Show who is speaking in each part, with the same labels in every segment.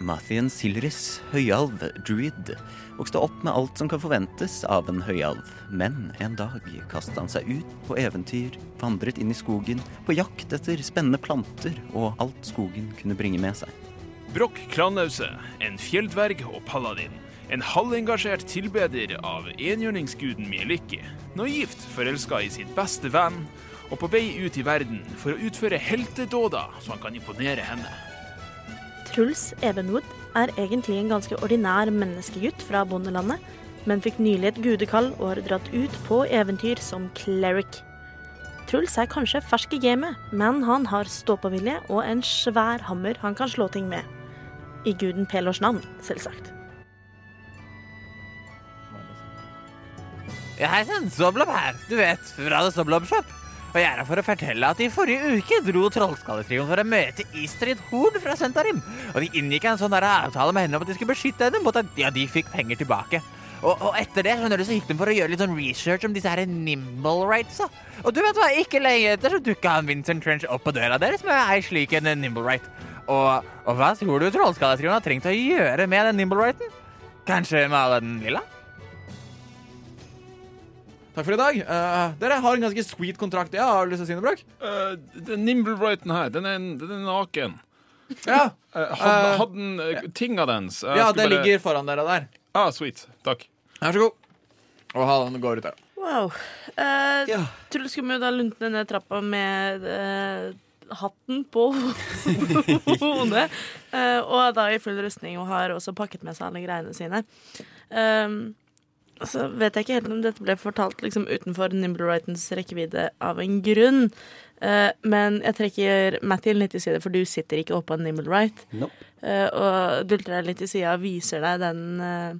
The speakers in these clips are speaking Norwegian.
Speaker 1: Mathien Silris, høyalv, druid, vokste opp med alt som kan forventes av en høyalv. Men en dag kastet han seg ut på eventyr, vandret inn i skogen, på jakt etter spennende planter og alt skogen kunne bringe med seg.
Speaker 2: Brokk Kranause, en fjelldverg og paladin. En halvengasjert tilbeder av enhjørningsguden Mieliki. Naivt forelska i sin beste venn, og på vei ut i verden for å utføre heltedåder så han kan imponere henne.
Speaker 3: Truls Evenwood er egentlig en ganske ordinær menneskegutt fra bondelandet, men fikk nylig et gudekall og har dratt ut på eventyr som cleric. Truls er kanskje fersk i gamet, men han har ståpåvilje og en svær hammer han kan slå ting med. I guden Pelors navn, selvsagt.
Speaker 4: Ja, hei sann, Zoblob her. Du vet, fra The Zoblob Shop. Og jeg er her for å fortelle at i forrige uke dro Trollskalletrioen for å møte Istrid Horn fra Sentarim. Og de inngikk en sånn der avtale med henne om at de skulle beskytte henne mot at ja, de fikk penger tilbake. Og, og etter det skjønner du, så gikk de for å gjøre litt sånn research om disse her nimble rightsa. Og du vet hva, ikke lenge etter så dukka han Vincent Trench opp på døra deres med ei slik en nimble right. Og, og hva tror du Trollskalletrioen har trengt å gjøre med den nimble righten? Kanskje male den lilla?
Speaker 5: Takk for i dag. Eh, dere har en ganske sweet kontrakt. Ja, har du lyst til å si noe, Brokk?
Speaker 2: Eh, den Nimble-Brighten her, den er, den er naken.
Speaker 5: Ja,
Speaker 2: Uh,
Speaker 5: Eh,
Speaker 2: hadde den tinga dens? Jeg
Speaker 5: ja
Speaker 2: skulle
Speaker 5: det
Speaker 2: bare-
Speaker 5: ligger foran dere der.
Speaker 2: Ah, sweet. Takk.
Speaker 5: Vær så god. Og han går ut der.
Speaker 3: Wow. Eh,
Speaker 5: Ja.
Speaker 3: Truls kommer jo da luntende ned trappa med eh, hatten på hodet. eh, og er da i full rustning og har også pakket med seg alle greiene sine. Ehm, så vet jeg ikke helt om dette ble fortalt liksom, utenfor Nimble Rightons rekkevidde av en grunn. Eh, men jeg trekker Matthew litt til side, for du sitter ikke oppå en Nimble Right.
Speaker 1: Nope.
Speaker 3: Eh, og dulter deg litt til sida og viser deg den eh,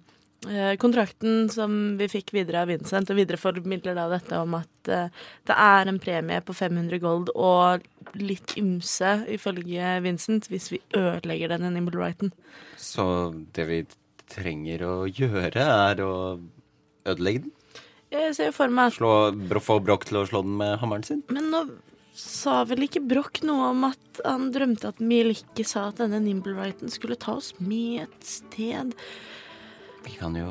Speaker 3: eh, kontrakten som vi fikk videre av Vincent, og videreformidler da dette om at eh, det er en premie på 500 gold og litt ymse, ifølge Vincent, hvis vi ødelegger denne Nimble Righten.
Speaker 6: Så det vi trenger å gjøre, er å ødelegge den?
Speaker 3: Jeg ser jo for meg at
Speaker 6: Slå, bro- få Brokk til å slå den med hammeren sin?
Speaker 3: Men nå sa vel ikke Broch noe om at han drømte at Mielicke sa at denne Nimble Righten skulle ta oss med et sted?
Speaker 6: Vi kan jo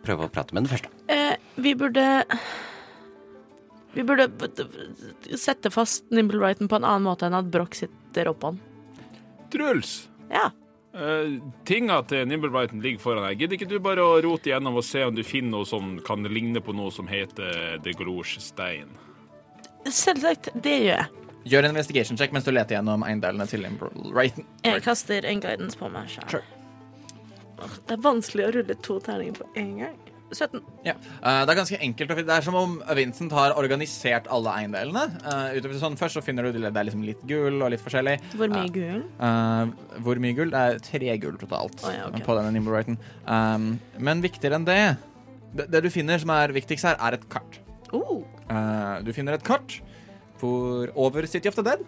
Speaker 6: prøve å prate med den først.
Speaker 3: Eh, vi burde Vi burde b- d- sette fast Nimble Wrighten på en annen måte enn at Broch sitter oppå han.
Speaker 2: Truls.
Speaker 3: Ja.
Speaker 2: Eh, tinga til Nimble-Brighten ligger foran deg. Gidder ikke du bare å rote gjennom og se om du finner noe som kan ligne på noe som heter The Grouche Stein?
Speaker 3: Selvsagt. Det gjør jeg.
Speaker 5: Gjør en investigation check mens du leter gjennom eiendelene til Raton.
Speaker 3: Jeg kaster en guidance på meg sjøl.
Speaker 5: Sure.
Speaker 3: Det er vanskelig å rulle to terninger på én gang. 17.
Speaker 5: Ja. Eh, det er ganske enkelt. å fin- Det er som om Vincent har organisert alle eiendelene. Eh, utover sånn, Først så finner du det er liksom litt gull og litt forskjellig.
Speaker 3: Hvor mye
Speaker 5: Ja.
Speaker 3: gull?
Speaker 5: Eh, hvor mye gull? Det er tre gull totalt
Speaker 3: Å, ja, ok.
Speaker 5: på denne Nimble Wrighten. Um, men viktigere enn det, det Det du finner som er viktigst her, er et kart.
Speaker 3: Oh.
Speaker 5: Eh, du finner et kart for over City of the Dead.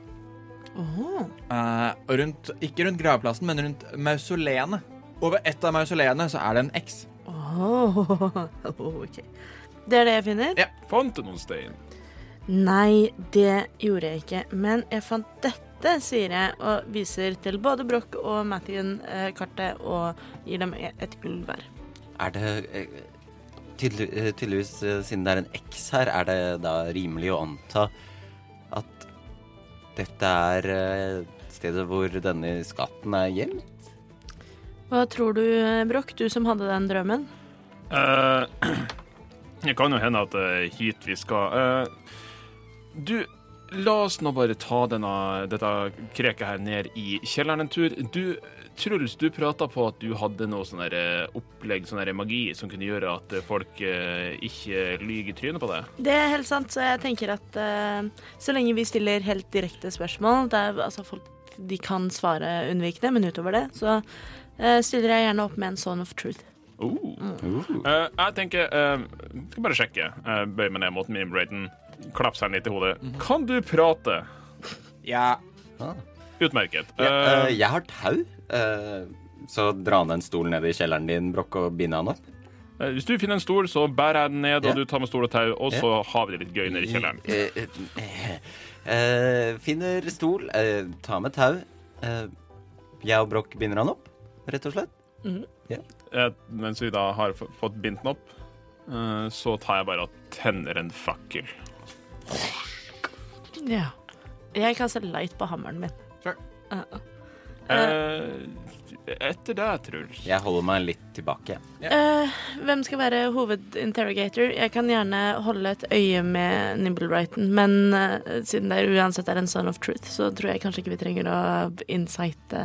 Speaker 3: Oho.
Speaker 5: Eh, og rundt, ikke rundt gravplassen, men rundt mausoleene. Over ett av mausoleene så er det en X.
Speaker 3: Oho. Ok. Det er det jeg finner?
Speaker 2: Fant du noen stein?
Speaker 3: Nei, det gjorde jeg ikke. Men jeg fant dette, sier jeg, og viser til både Broch og Mathien eh, kartet og gir dem et gull hver.
Speaker 6: Er det eh, tydelig, eh, Tydeligvis, eh, siden det er en X her, er det da rimelig å anta at dette er eh, stedet hvor denne skatten er gjemt?
Speaker 3: Hva tror du, eh, Broch, du som hadde den drømmen?
Speaker 2: Eh, Det kan jo hende at eh, hit vi skal Eh, Du, la oss nå bare ta denne, dette kreket her ned i kjelleren en tur. Du, Truls, du prata på at du hadde noe sånn der, eh, opplegg, sånn der magi, som kunne gjøre at eh, folk eh, ikke lyver i trynet på deg.
Speaker 3: Det er helt sant, så jeg tenker at eh, så lenge vi stiller helt direkte spørsmål der altså folk de kan svare unnvikende, men utover det, så eh, stiller jeg gjerne opp med en son of truth.
Speaker 2: Oh. Eh, jeg tenker eh, Skal bare sjekke. Uh, Bøy meg ned mot min Brayton. Klaps henne litt i hodet. Kan du prate?
Speaker 5: Ja.
Speaker 2: Utmerket.
Speaker 6: Ja,
Speaker 2: Eh,
Speaker 6: eh, jeg har tau. eh, så dra ned en stol nede i kjelleren din, Brokk, og binde han opp.
Speaker 2: eh, hvis du finner en stol, så bærer jeg den ned,
Speaker 6: Ja.
Speaker 2: og du tar med stol og tau, og så har vi det litt gøy nede i kjelleren.
Speaker 6: Eh, eh, eh, finner stol, eh, tar med tau. eh, jeg og Brokk binder han opp. rett og slett.
Speaker 2: Eh, mens vi da har f- fått bindt den opp, eh, så tar jeg bare og tenner en fakkel.
Speaker 3: Ja. Jeg kaster light på hammeren min.
Speaker 5: Sure.
Speaker 3: Ja.
Speaker 2: Eh, etter det, Truls.
Speaker 6: Jeg holder meg litt tilbake.
Speaker 3: Eh, hvem skal være hovedinterrogator? Jeg kan gjerne holde et øye med Nimblebrighton, men eh, siden det er uansett er en son of truth, så tror jeg kanskje ikke vi trenger å insighte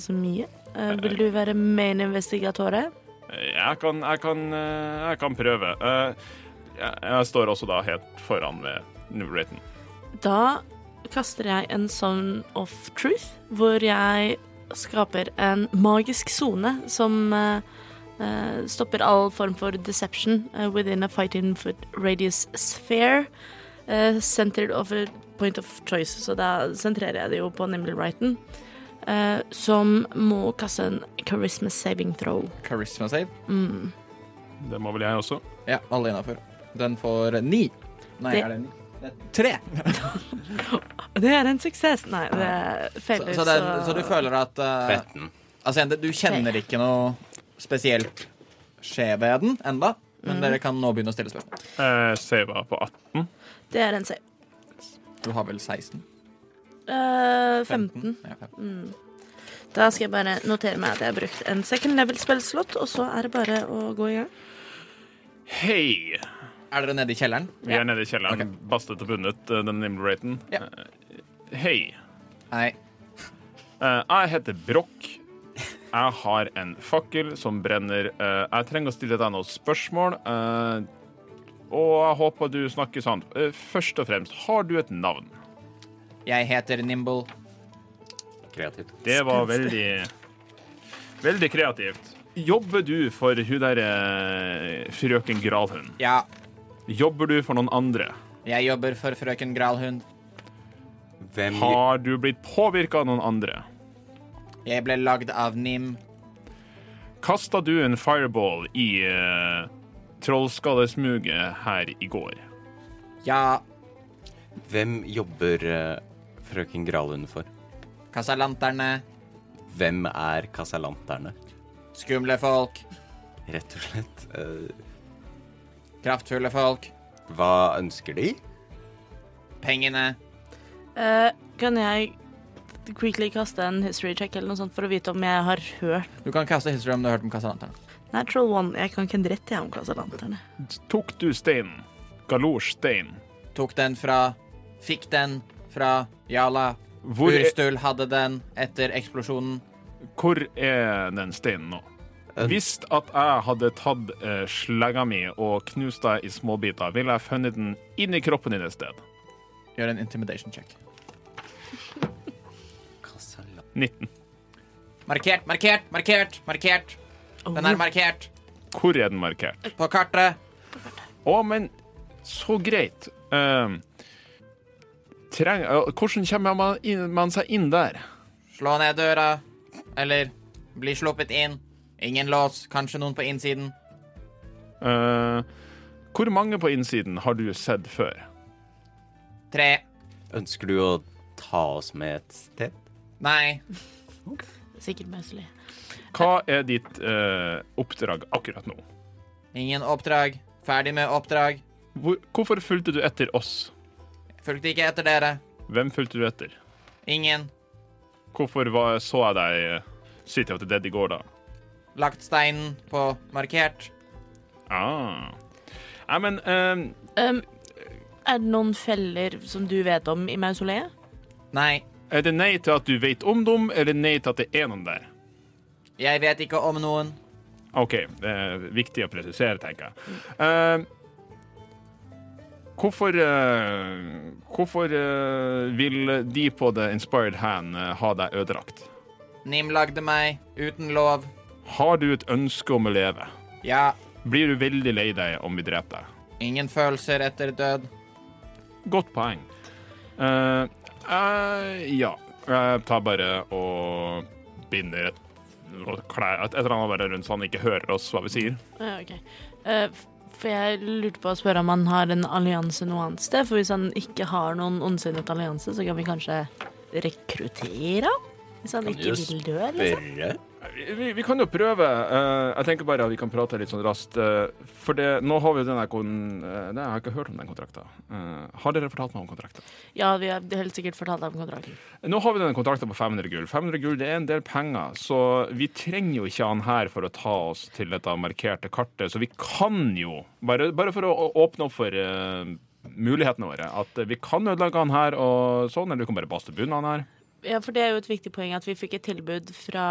Speaker 3: så mye. Eh, vil du være main investigatore?
Speaker 2: Jeg kan, jeg kan, eh, jeg kan prøve. Eh, jeg, jeg står også da helt foran ved Newraton.
Speaker 3: Da kaster jeg en Son of Truth, hvor jeg skaper en magisk sone som eh, eh, stopper all form for deception eh, within a 15 foot radius sphere, eh, centered over point of choice. Så da sentrerer jeg det jo på Nimblewrighten, uh, som må kaste en charisma saving throw.
Speaker 5: Charisma save.
Speaker 3: Mm.
Speaker 2: Det må vel jeg også.
Speaker 5: Ja, alle innafor. Den får ni. Nei,
Speaker 3: Det-
Speaker 5: er det ni? Det er Tre!
Speaker 3: Det er en suksess. Nei, det
Speaker 5: Så,
Speaker 3: feiler,
Speaker 5: så, det, er- så du føler at eh,
Speaker 6: 13.
Speaker 5: Altså, igjen, det- du kjenner ikke noe spesielt skje ved den enda, men dere kan nå begynne å stille spørsmål.
Speaker 2: Eh, Sava på 18.
Speaker 3: Det er en save.
Speaker 5: Du har vel 16?
Speaker 3: Eh, 15.
Speaker 5: Ja, fem.
Speaker 3: Da skal jeg bare notere meg at jeg har brukt en second level spillslott, og så er det bare å gå i gang.
Speaker 2: Hei!
Speaker 5: Er dere nede i kjelleren?
Speaker 2: Vi er nede i kjelleren, bastet og bundet, eh, den Newraton.
Speaker 5: Ja.
Speaker 2: Hei.
Speaker 5: Nei.
Speaker 2: Eh, jeg heter Brokk. Jeg har en fakkel som brenner. Eh, jeg trenger å stille deg noen spørsmål. eh, og jeg håper du snakker sant. Eh, først og fremst, har du et navn?
Speaker 5: Jeg heter Nimble.
Speaker 6: Eh, Kreativt.
Speaker 2: Det var veldig Veldig kreativt. Jobber du for hun der eh, frøken Gralhund?
Speaker 5: Ja,
Speaker 2: Jobber du for noen andre?
Speaker 5: jeg jobber for frøken Gralhund.
Speaker 6: Hvem
Speaker 2: Har du blitt påvirka av noen andre?
Speaker 5: Jeg ble lagd av Nim.
Speaker 2: Kasta du en fireball i uh, trollskallesmuget her i går?
Speaker 5: Ja,
Speaker 6: Hvem jobber eh, frøken Gralund for?
Speaker 5: kassalanterne,
Speaker 6: Hvem er kassalanterne?
Speaker 5: skumle folk,
Speaker 6: Rett og slett. Eh,
Speaker 5: kraftfulle folk,
Speaker 6: hva ønsker de?
Speaker 5: pengene.
Speaker 3: Eh, kan jeg quickly kaste en history check eller noe sånt for å vite om jeg har hørt
Speaker 5: Du kan kaste history om du har hørt om kassalanterne.
Speaker 3: Natural One? Jeg kan ikke en dritt jeg om kassalanterne.
Speaker 2: Tok du steinen? Galorstein?
Speaker 5: Tok den fra, fikk den fra Jala.
Speaker 2: Hvor, er-
Speaker 5: Urstul hadde den etter eksplosjonen.
Speaker 2: hvor er den steinen nå? Hvis at jeg hadde tatt eh, slegga mi og knust deg i småbiter, ville jeg funnet den inni kroppen din et sted.
Speaker 5: Gjør en intimidation check.
Speaker 2: 19.
Speaker 5: Markert, markert, markert, markert. Den er markert.
Speaker 2: Hvor er den markert?
Speaker 5: På kartet.
Speaker 2: Å, men så greit. Eh, treng, eh, hvordan kommer man, inn, man seg inn der?
Speaker 5: Slå ned døra. Eller bli sluppet inn. Ingen lås. Kanskje noen på innsiden.
Speaker 2: Eh, hvor mange på innsiden har du sett før?
Speaker 5: Tre.
Speaker 6: Ønsker du å ta oss med et sted?
Speaker 5: Nei.
Speaker 3: Sikkert møselig.
Speaker 2: Hva er ditt eh, oppdrag akkurat nå?
Speaker 5: Ingen oppdrag. Ferdig med oppdrag.
Speaker 2: Hvor, hvorfor fulgte du etter oss?
Speaker 5: Fulgte ikke etter dere.
Speaker 2: Hvem fulgte du etter?
Speaker 5: Ingen.
Speaker 2: Hvorfor var, så jeg deg eh, City of the Dead i går, da?
Speaker 5: Lagt steinen på markert.
Speaker 2: Ah. Nei, men eh,
Speaker 3: Um, er det noen feller som du vet om i mausoleet?
Speaker 5: Nei.
Speaker 2: Er det nei til at du vet om dem, eller nei til at det er noen der?
Speaker 5: Jeg vet ikke om noen.
Speaker 2: OK, det er viktig å presisere, tenker jeg. Eh, hvorfor eh, Hvorfor eh, vil de på The Inspired Hand eh, ha deg ødelagt?
Speaker 5: Nim lagde meg uten lov.
Speaker 2: Har du et ønske om å leve?
Speaker 5: Ja.
Speaker 2: Blir du veldig lei deg om vi dreper deg?
Speaker 5: Ingen følelser etter død.
Speaker 2: Godt poeng. Eh, eh, ja. Jeg tar bare og binder et, og klær, et, et eller annet bare rundt så han ikke hører oss hva vi sier.
Speaker 3: Ja, ok. Eh, f- for jeg lurte på å spørre om han har en allianse noe annet sted. For hvis han ikke har noen ondsinnet allianse, så kan vi kanskje rekruttere han? Hvis han
Speaker 6: Kan
Speaker 3: ikke
Speaker 6: jo
Speaker 3: vil dø, liksom.
Speaker 6: Børre?
Speaker 2: Vi, vi kan jo prøve. eh, jeg tenker bare at vi kan prate litt sånn raskt. eh, for det, nå har vi jo den der kon... eh, nei, jeg har ikke hørt om den kontrakten. Eh, har dere fortalt meg om kontrakten?
Speaker 3: Ja, vi har helt sikkert fortalt deg om kontrakten.
Speaker 2: Nå har vi denne kontrakten på 500 gull. 500 gull det er en del penger, så vi trenger jo ikke han her for å ta oss til dette markerte kartet. Så vi kan jo, bare, bare for å å åpne opp for eh, mulighetene våre, at eh, vi kan ødelegge han her og sånn, eller vi kan bare baste bunnen han her.
Speaker 3: Ja, for det er jo et viktig poeng at vi fikk et tilbud fra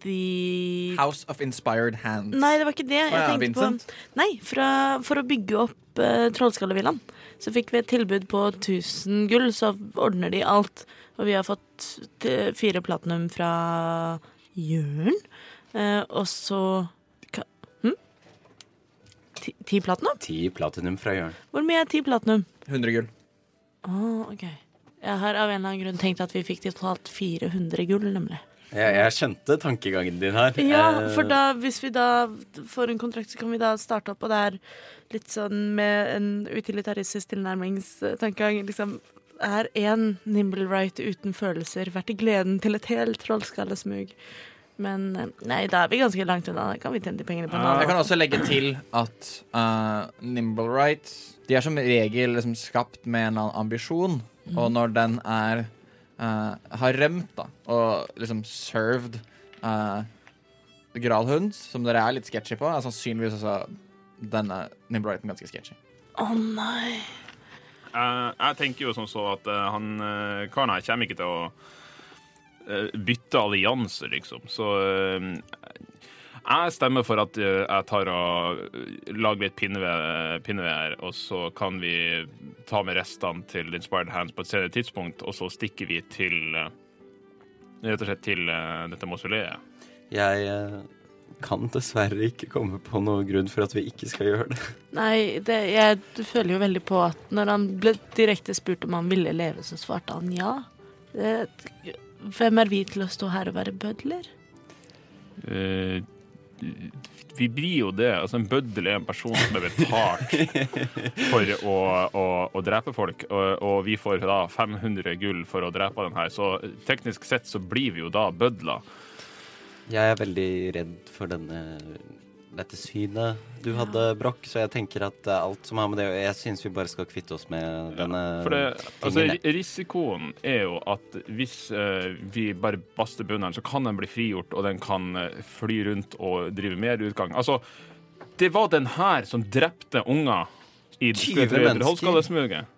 Speaker 3: de
Speaker 5: House of Inspired Hands.
Speaker 3: Nei, det var ikke det jeg
Speaker 5: ja,
Speaker 3: tenkte
Speaker 5: Vincent?
Speaker 3: på. Nei, fra, for å bygge opp uh, Trollskallevillaen, så fikk vi et tilbud på 1000 gull, så ordner de alt. Og vi har fått t- fire platinum fra Jørn. Eh, og så ka, hm? ti, ti platinum?
Speaker 6: Ti platinum fra Jørn.
Speaker 3: Hvor mye er ti platinum?
Speaker 5: 100 gull.
Speaker 3: Å, Ah, OK. Jeg har av en eller annen grunn tenkt at vi fikk totalt 400 gull, nemlig.
Speaker 6: Jeg, jeg skjønte tankegangen din her.
Speaker 3: Ja,
Speaker 6: Eh,
Speaker 3: for da, hvis vi da får en kontrakt, så kan vi da starte opp, og det er litt sånn med en utilitaristisk tilnærmingstankegang. Liksom, er én nimble right uten følelser vært i gleden til et helt trollskallesmug? Men eh, nei, da er vi ganske langt unna. Da kan vi tjene de pengene på en
Speaker 5: Jeg
Speaker 3: annen.
Speaker 5: kan også legge til at uh, Nimble Right De er som regel liksom skapt med en eller annen ambisjon, og når den er eh, har rømt da, og liksom served uh, Gralhund, som dere er litt sketchy på, er sannsynligvis også denne Nimble Righten ganske sketchy.
Speaker 3: Å nei.
Speaker 2: Eh, jeg tenker jo som så at eh, han uh, karen her kommer ikke til å eh, bytte allianse, liksom. Så eh, jeg stemmer for at eh, jeg tar og eh, lager litt pinneved pinneved her, og så kan vi ta med restene til Inspired Hands på et senere tidspunkt, og så stikker vi til eh, Rett og slett til eh, dette mausoleet.
Speaker 6: Jeg eh, kan dessverre ikke komme på noen grunn for at vi ikke skal gjøre det.
Speaker 3: Nei, det, jeg føler jo veldig på at når han ble direkte spurt om han ville leve, så svarte han ja. Det, hvem er vi til å stå her og være bødler?
Speaker 2: Eh, vi blir jo det. Altså, en bøddel er en person som er betalt for å, å, å drepe folk, og, og vi får da 500 gull for å drepe den her, så teknisk sett så blir vi jo da bødler.
Speaker 6: Jeg er veldig redd for denne, dette synet du hadde, Broch, så jeg tenker at eh, alt som har med det Jeg syns vi bare skal kvitte oss med denne
Speaker 2: For det,
Speaker 6: Eh,
Speaker 2: altså,
Speaker 6: tingen.
Speaker 2: ri- risikoen er jo at hvis eh, vi bare baster bunnen, så kan den bli frigjort, og den kan eh, fly rundt og drive mer utgang. Altså, det var den her som drepte unger i
Speaker 6: 20 mennesker.
Speaker 2: Holskallesmuget.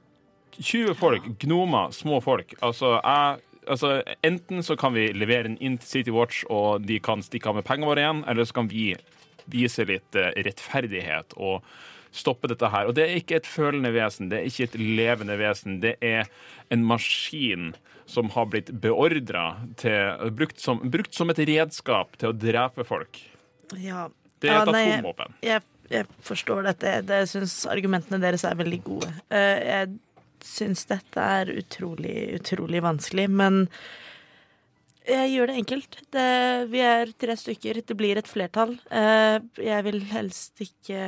Speaker 2: 20 folk, gnomer, små folk. Altså, jeg Altså, Enten så kan vi levere den inn til City Watch, og de kan stikke av med pengene våre igjen, eller så kan vi vise litt eh, rettferdighet og stoppe dette her. Og det er ikke et følende vesen, det er ikke et levende vesen. Det er en maskin som har blitt beordra til brukt som, brukt som et redskap til å drepe folk.
Speaker 3: Ja.
Speaker 2: Det er et
Speaker 3: nei,
Speaker 2: atomvåpen.
Speaker 3: Jeg, jeg forstår dette. Det, jeg syns argumentene deres er veldig gode. Eh, jeg syns dette er utrolig, utrolig vanskelig, men jeg gjør det enkelt. Det, vi er tre stykker. Det blir et flertall. Eh, jeg vil helst ikke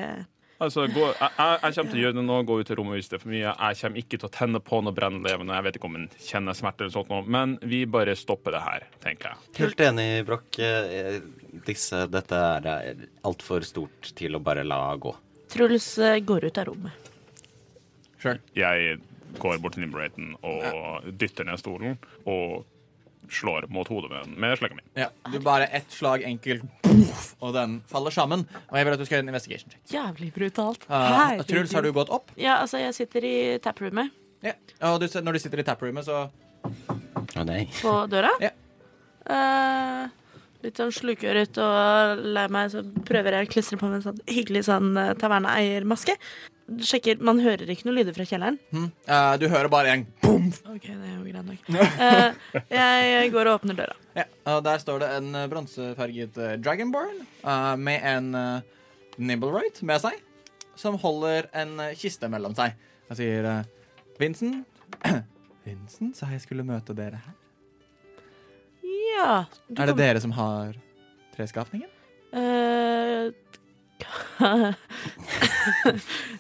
Speaker 2: Altså, gå, jeg, jeg jeg kommer til å gjøre det nå, gå ut i rommet hvis det er for mye. Jeg kommer ikke til å tenne på noe brennlevende. Jeg vet ikke om en kjenner smerte eller sånt nå, men vi bare stopper det her, tenker jeg.
Speaker 6: Helt enig, Broch. Eh, Disse, dette er eh, altfor stort til å bare la gå.
Speaker 3: Truls eh, går ut av rommet.
Speaker 5: Sure.
Speaker 2: Jeg går bort til Nimbraten og dytter ned stolen og slår mot hodet med, den- med slegga mi.
Speaker 5: Ja, du bare ett slag enkelt, poof, og den faller sammen. Og jeg vil at du skal gjøre en investigation check.
Speaker 3: Jævlig brutalt.
Speaker 5: Uh, Truls, har du gått opp?
Speaker 3: Ja, altså, jeg sitter i taproomet
Speaker 5: Ja. Og du, når du sitter i taproomet, så
Speaker 6: Å nei.
Speaker 3: på døra.
Speaker 5: Ja.
Speaker 3: Eh, litt sånn slukøret og lei meg, så prøver jeg å klistre på meg en sånn hyggelig sånn eh, taverneeiermaske. Sjekker, Man hører ikke noe lyder fra kjelleren.
Speaker 5: Eh, du hører bare en boom!
Speaker 3: Ok, det er jo greit nok. Eh, jeg går og åpner døra.
Speaker 5: Ja, og der står det en eh, bronsefarget eh, dragonborn eh, med en uh, nibblerite med seg, som holder en eh, kiste mellom seg. Han sier eh, Vincent, Vincent sa jeg skulle møte dere her.
Speaker 3: Ja. du
Speaker 5: Er det
Speaker 3: kom-
Speaker 5: dere som har treskapningen?
Speaker 3: Eh,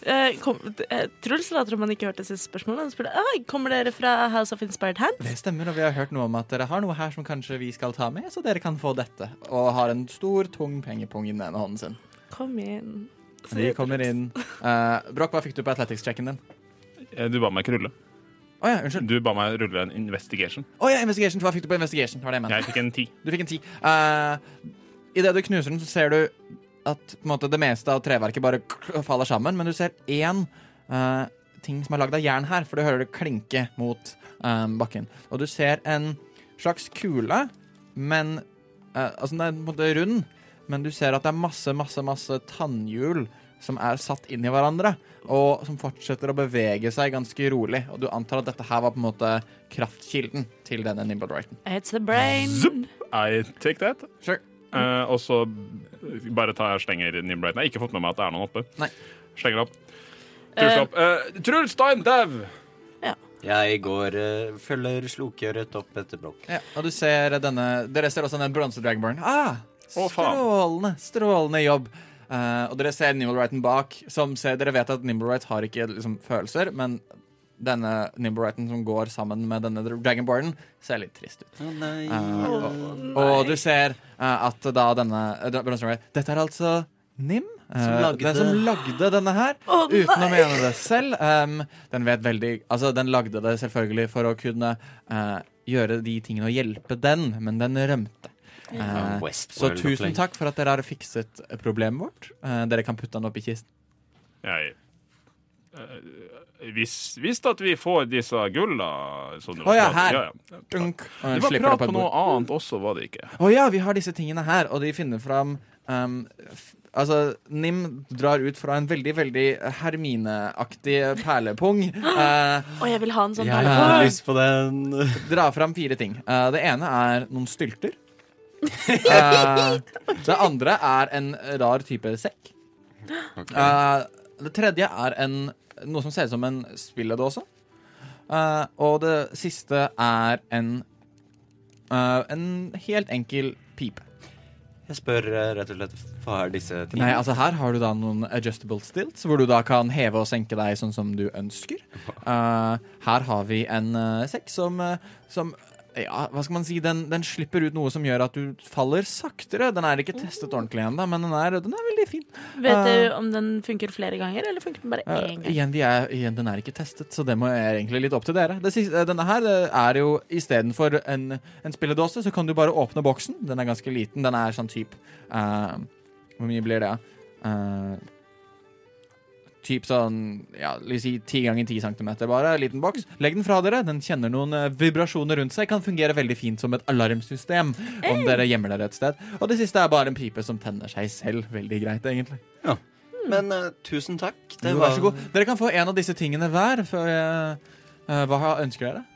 Speaker 3: Eh, kom, eh, Truls later som han ikke hørte siste spørsmålet. Han spurte «Oi, kommer dere fra House of Inspired Hands.
Speaker 5: Det stemmer, og vi har hørt noe om at dere har noe her som kanskje vi skal ta med, så dere kan få dette. Og har en stor, tung pengepung i den ene hånden sin.
Speaker 3: Kom inn.
Speaker 5: De kommer inn. Eh, Brokk, hva fikk du på athletics-checken din?
Speaker 2: Eh, Du ba meg ikke rulle.
Speaker 5: Å ja, unnskyld.
Speaker 2: Du ba meg rulle en investigation.
Speaker 5: Å ja, investigation. Hva fikk du på investigation? Var det jeg mente.
Speaker 2: Jeg fikk en ti.
Speaker 5: Du fikk en ti. Uh, Idet du knuser den, så ser du at på en måte, det meste av treverket bare k- faller sammen, men du ser én eh, ting som er lagd av jern her, for du hører det klinke mot eh, bakken. Og du ser en slags kule, men eh, Altså, den er på en måte rund, men du ser at det er masse, masse, masse tannhjul som er satt inn i hverandre, og som fortsetter å bevege seg ganske rolig. Og du antar at dette her var på en måte kraftkilden til denne Nimbledrighten.
Speaker 3: It's the brain.
Speaker 2: Zup. I take that.
Speaker 5: Sure.
Speaker 2: Eh, og så bare tar jeg og slenger Nimbrighten. Jeg har ikke fått med meg at det er noen oppe.
Speaker 5: Nei.
Speaker 2: Slenger opp. Truls
Speaker 3: Eh.
Speaker 2: opp. Eh, Truls, ta en dau!
Speaker 6: Jeg går eh, Følger slokøret opp etter Brokk.
Speaker 5: Ja, og du ser denne Dere ser også den bronse dragborn. Ah,
Speaker 2: Å, faen.
Speaker 5: strålende, strålende jobb. Eh, og dere ser Nimblewrighten bak, som ser Dere vet at Nimblewright har ikke liksom, følelser, men denne Nimblewrighten som går sammen med denne dragonbornen, ser litt trist ut.
Speaker 6: Å nei.
Speaker 5: Eh, og,
Speaker 3: Å,
Speaker 5: og du ser eh, at da denne eh, dra- Bronze Dragon Dette er altså Nim. eh,
Speaker 6: Som lagde-
Speaker 5: den som lagde denne her,
Speaker 3: Å, nei.
Speaker 5: uten å mene det selv. Em, den vet veldig Altså, den lagde det selvfølgelig for å kunne eh, gjøre de tingene og hjelpe den, men den rømte. Eh, så
Speaker 6: Westworld-opplegg.
Speaker 5: tusen takk for at dere har fikset problemet vårt. Eh, dere kan putte den opp i kisten.
Speaker 2: Jeg eh, vis- visste at vi får disse gulla som du
Speaker 5: Å ja,
Speaker 2: prater-
Speaker 5: her.
Speaker 2: Ja, ja.
Speaker 5: Dunk,
Speaker 2: Det
Speaker 5: og
Speaker 2: var
Speaker 5: slipper det
Speaker 2: prat
Speaker 5: på
Speaker 2: på
Speaker 5: et
Speaker 2: noe
Speaker 5: bord.
Speaker 2: annet også, var det ikke?
Speaker 5: Å ja, vi har disse tingene her, og de finner fram em, f Altså, Nim drar ut fra en veldig, veldig Hermine-aktig perlepung. eh,
Speaker 3: Å, jeg vil ha en sånn
Speaker 6: Jeg
Speaker 3: perle.
Speaker 6: har lyst på den.
Speaker 5: Dra fram fire ting. Eh, det ene er noen stylter. Eh, det andre er en rar type sekk. Eh, det tredje er en, noe som ser ut som en spilledåse. Eh, og det siste er en eh, en helt enkel pipe.
Speaker 6: Jeg spør eh, rett og slett hva er disse tingene?
Speaker 5: Nei, altså Her har du da noen adjustable stilts, hvor du da kan heve og senke deg sånn som du ønsker. Eh, her har vi en eh, sekk som, eh, som ja, hva skal man si, den, den slipper ut noe som gjør at du faller saktere. Den er ikke testet ordentlig ennå, men den er, den er veldig fin.
Speaker 3: Vet du om den funker flere ganger, eller funker den bare
Speaker 5: Eh,
Speaker 3: én gang?
Speaker 5: igjen, vi er, igjen, den er ikke testet, så det må jeg egentlig litt opp til dere. Det siste, eh, denne her eh, er jo istedenfor en, en spilledåse, så kan du bare åpne boksen. Den er ganske liten. Den er sånn type Hvor mye blir det? Uh, typ sånn ja, la oss si 10 ganger 10 centimeter bare, liten boks. Legg den fra dere. Den kjenner noen eh, vibrasjoner rundt seg. Kan fungere veldig fint som et alarmsystem om dere gjemmer dere et sted. Og det siste er bare en pipe som tenner seg selv. Veldig greit, egentlig.
Speaker 6: Men eh, tusen takk.
Speaker 5: altså- Jo, vær så god. Dere kan få en av disse tingene hver. For, eh, eh, hva har- ønsker dere?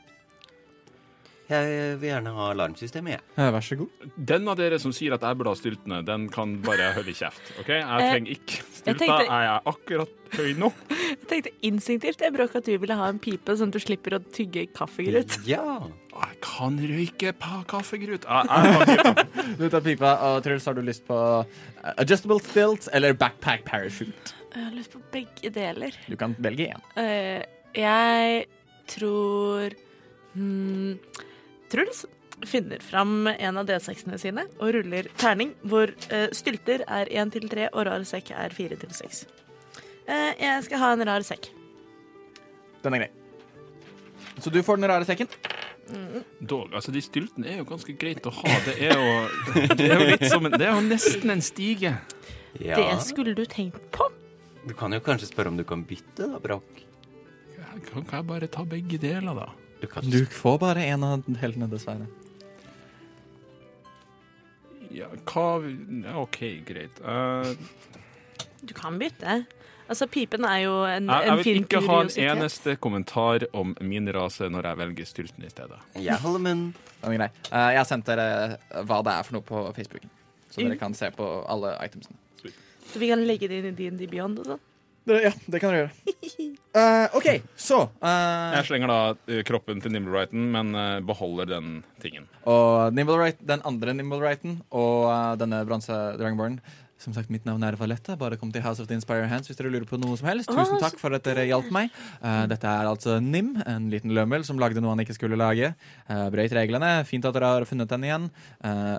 Speaker 6: Jeg vil gjerne ha alarmsystemet, jeg.
Speaker 5: Eh, vær så god.
Speaker 2: Den av dere som sier at jeg burde ha styltene, den kan bare holde kjeft. ok? Jeg
Speaker 3: Eh,
Speaker 2: trenger ikke
Speaker 3: jeg
Speaker 2: stylter.
Speaker 3: tenkte-
Speaker 2: Jeg, er akkurat høy nok.
Speaker 3: Jeg tenkte instinktivt jeg bråk at du ville ha en pipe, sånn at du slipper å tygge
Speaker 5: Mm.
Speaker 3: kaffegrut.
Speaker 6: Ja.
Speaker 2: Jeg kan røyke pa kaffegrut. Jeg, jeg, kan ikke-
Speaker 5: Du tar pipa, og Truls, har du lyst på eh, adjustable stilt eller backpack parachute?
Speaker 3: Jeg har lyst på begge deler.
Speaker 5: Du kan velge én.
Speaker 3: Eh, jeg tror hmm, Truls finner fram en av D6-ene sine og ruller terning, hvor eh, stylter er 1 til 3 og rar sekk er 4 til 6. Eh, jeg skal ha en rar sekk.
Speaker 5: Den er grei. Så du får den rare sekken.
Speaker 2: Dog, altså De styltene er jo ganske greit å ha. Det er jo, det er jo, litt som en, det er jo nesten en stige.
Speaker 6: ja.
Speaker 3: Det skulle du tenkt på.
Speaker 6: Du kan jo kanskje spørre om du kan bytte, da, Brokk.
Speaker 2: Jeg kan ikke jeg bare ta begge deler, da?
Speaker 6: Du kan
Speaker 5: Du får bare én av heltene, dessverre.
Speaker 2: Ja, hva ja, OK, greit. Eh,
Speaker 3: Du kan bytte. Altså, pipen er jo en,
Speaker 2: jeg, jeg
Speaker 3: en
Speaker 2: vil
Speaker 3: fin
Speaker 2: ikke ha en
Speaker 3: kuriositet.
Speaker 2: eneste kommentar om min rase når jeg velger styltene i stedet.
Speaker 6: Jeg holder munn.
Speaker 5: Den er grei. Eh, jeg har sendt dere eh, hva det er for noe på Facebooken. Så dere kan se på alle itemsene.
Speaker 3: Så vi kan legge det inn i DND Beyond og sånn.
Speaker 5: Dere- ja, det kan dere gjøre. Eh, OK, så eh,
Speaker 2: Jeg slenger da eh, kroppen til Nimblewrighten, men eh, beholder den tingen.
Speaker 5: Og Nimble Wright, den andre Nimble Wrighten og eh, denne bronse Dragonborn Som sagt, Mitt navn er Valetta. Bare kom til House of the Inspire Hands hvis dere lurer på noe som helst.
Speaker 3: Å,
Speaker 5: Tusen takk for at dere hjalp meg. Eh, dette er altså Nim, en liten lømmel som lagde noe han ikke skulle lage. Uh, brøyt reglene. Fint at dere har funnet den igjen. Eh,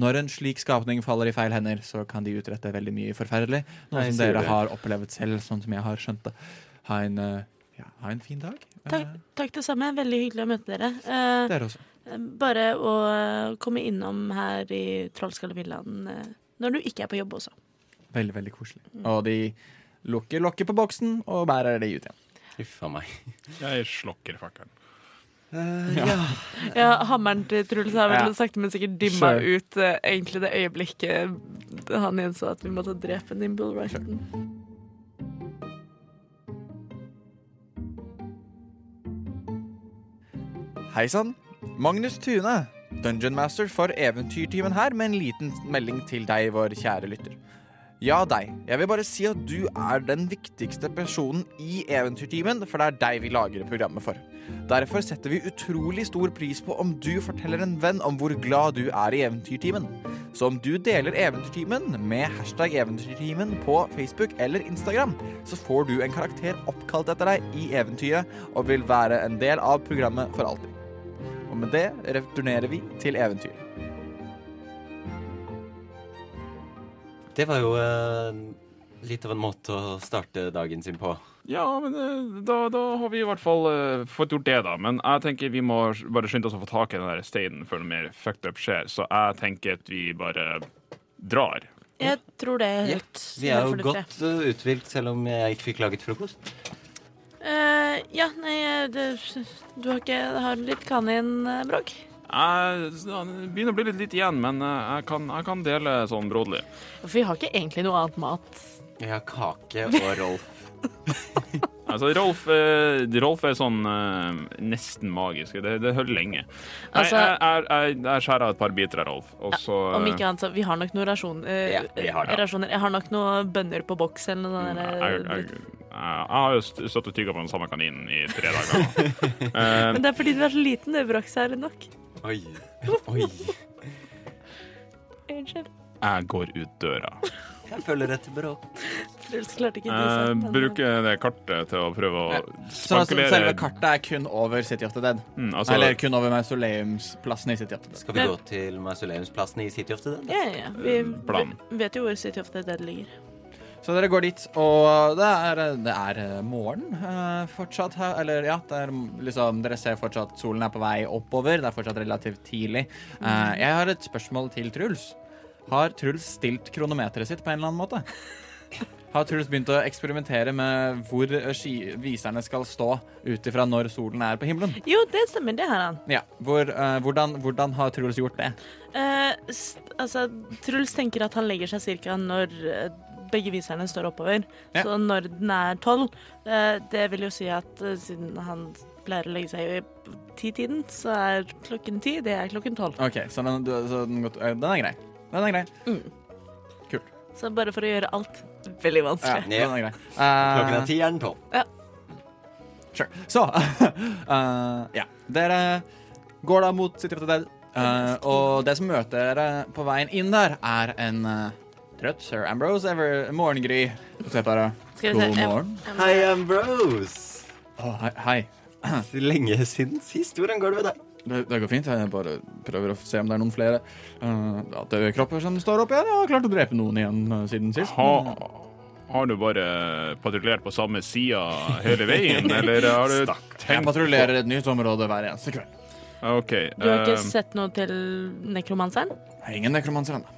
Speaker 5: når en slik skapning faller i feil hender, så kan de utrette veldig mye forferdelig. Noe
Speaker 6: Nei,
Speaker 5: som
Speaker 6: sier
Speaker 5: dere
Speaker 6: du.
Speaker 5: har opplevd selv, sånn som jeg har skjønt det. Ha en, eh, ja, ha en fin dag. Eh,
Speaker 3: Takk, takk det samme. Veldig hyggelig å møte dere. Eh,
Speaker 5: Dere også.
Speaker 3: bare å eh, komme innom her i Trollskallevillaen eh, når du ikke er på jobb også.
Speaker 5: Veldig, veldig koselig. Og de lukker lokket på boksen og bærer det ut igjen.
Speaker 6: Huff a meg.
Speaker 2: Jeg slokker fakkelen.
Speaker 3: Ja, hammeren til Truls har vel
Speaker 5: Ja.
Speaker 3: sakte, men sikkert dimma
Speaker 5: Sure.
Speaker 3: ut eh, egentlig det øyeblikket han innså at vi måtte drepe Nimble Rushton.
Speaker 5: Hei sann. Magnus Tune, Dungeon Master for Eventyrtimen her med en liten melding til deg, vår kjære lytter. Ja, deg. Jeg vil bare si at du er den viktigste personen i Eventyrtimen, for det er deg vi lager programmet for. Derfor setter vi utrolig stor pris på om du forteller en venn om hvor glad du er i Eventyrtimen. Så om du deler Eventyrtimen med hashtag Eventyrtimen på Facebook eller Instagram, så får du en karakter oppkalt etter deg i eventyret og vil være en del av programmet for alltid. Og med det returnerer vi til eventyret.
Speaker 6: Det var jo eh, litt av en måte å starte dagen sin på.
Speaker 2: Ja, men eh, da, da har vi i hvert fall eh, fått gjort det, da. Men jeg tenker vi må s- bare skynde oss å få tak i den der steinen før noe mer fucked up skjer. Så jeg tenker at vi bare drar.
Speaker 3: Jeg tror det er helt
Speaker 6: Vi er jo
Speaker 3: helt fornuftig.
Speaker 6: godt eh, uthvilt, selv om jeg ikke fikk laget frokost.
Speaker 3: Eh, ja, nei, det, du har ikke har litt kaninbråk?
Speaker 2: Jeg s- ja, det begynner å bli litt lite igjen, men eh, jeg kan, jeg kan dele sånn broderlig.
Speaker 3: For vi har ikke egentlig noe annet mat.
Speaker 6: Jeg har kake og Rolf.
Speaker 2: Altså, Rolf, eh, Rolf er sånn eh, nesten magisk. Det, det holder lenge.
Speaker 3: Altså-
Speaker 2: Nei,
Speaker 3: Eh,
Speaker 2: jeg, jeg, jeg, jeg skjærer av et par biter av Rolf, og så
Speaker 3: Om ikke annet, så vi har nok noen rasjon, eh,
Speaker 6: Ja, vi har det. Mm,
Speaker 3: rasjoner. Jeg har nok noen bønner på boks eller
Speaker 2: mm,
Speaker 3: noe
Speaker 2: jeg,
Speaker 3: der. eh,
Speaker 2: jeg, jeg, jeg, har jo st- stått og tygga på den samme kaninen i tre dager. Eh,
Speaker 3: Men det er fordi du er så liten, det bråk seg eller nok.
Speaker 6: Oi. Oi.
Speaker 3: Unnskyld.
Speaker 2: jeg går ut døra.
Speaker 6: Jeg føler et bråk.
Speaker 3: Truls klarte ikke det.
Speaker 2: Eh,
Speaker 3: selv, men-
Speaker 2: bruker det kartet til å prøve å
Speaker 5: Så altså,
Speaker 2: spankulere
Speaker 5: selve kartet er kun over City of the Dead.
Speaker 2: Mm, altså,
Speaker 5: Eller kun over mausoleumsplassen i City of the Dead.
Speaker 6: Skal vi gå til mausoleumsplassen i City of the Dead?
Speaker 3: Ja, ja, ja. Vi
Speaker 2: Plan.
Speaker 3: v- vet jo hvor City of the Dead ligger.
Speaker 5: Så dere går dit, og det er, det er eh, morgen eh, fortsatt her. Eller ja, det er liksom Dere ser fortsatt solen er på vei oppover. Det er fortsatt relativt tidlig. Eh, jeg har et spørsmål til Truls. Har Truls stilt kronometeret sitt på en eller annen måte? Har Truls begynt å eksperimentere med hvor eh, ski viserne skal stå ut ifra når solen er på himmelen?
Speaker 3: Jo, det stemmer, det har han.
Speaker 5: Ja, hvor, eh, hvordan, hvordan har Truls gjort det?
Speaker 3: Eh, s- altså, Truls tenker at han legger seg ca. når eh, begge viserne står oppover.
Speaker 5: Ja.
Speaker 3: Så når den er tolv. Eh, det vil jo si at eh, siden han pleier å legge seg i titiden, så er klokken ti, det er klokken tolv.
Speaker 5: OK, så den, du- så den, går- eh, den er grei. Den er grei.
Speaker 3: Så bare for å gjøre alt veldig
Speaker 5: Ja,
Speaker 3: vanskelig.
Speaker 5: den er grei.
Speaker 6: Klokken
Speaker 5: Eh,
Speaker 6: er ti, er den tolv.
Speaker 5: Sure. Så eh, Ja. Dere går da mot City of the Dead. eh, og det som møter dere på veien inn der, er en eh, trøtt sir Ambrose ever morgengry. Og så bare
Speaker 3: Skal vi se,
Speaker 5: God
Speaker 3: jeg-
Speaker 5: morgen.
Speaker 6: Hei, Ambrose.
Speaker 5: Å, hei, hei.
Speaker 6: Lenge siden sist. Hvordan går det med deg?
Speaker 5: Det, det går fint. Jeg bare prøver å se om det er noen flere uh, døde kropper som står opp igjen. Jeg har klart å drepe noen igjen eh, siden sist.
Speaker 2: ha, har du bare patruljert på samme sida hele veien, eller har du
Speaker 5: Jeg
Speaker 2: tenkt
Speaker 5: patruljerer et nytt område hver eneste kveld.
Speaker 2: OK.
Speaker 3: Du har
Speaker 2: eh,
Speaker 3: ikke sett noe til nekromanseren?
Speaker 5: Jeg er ingen nekromanser ennå.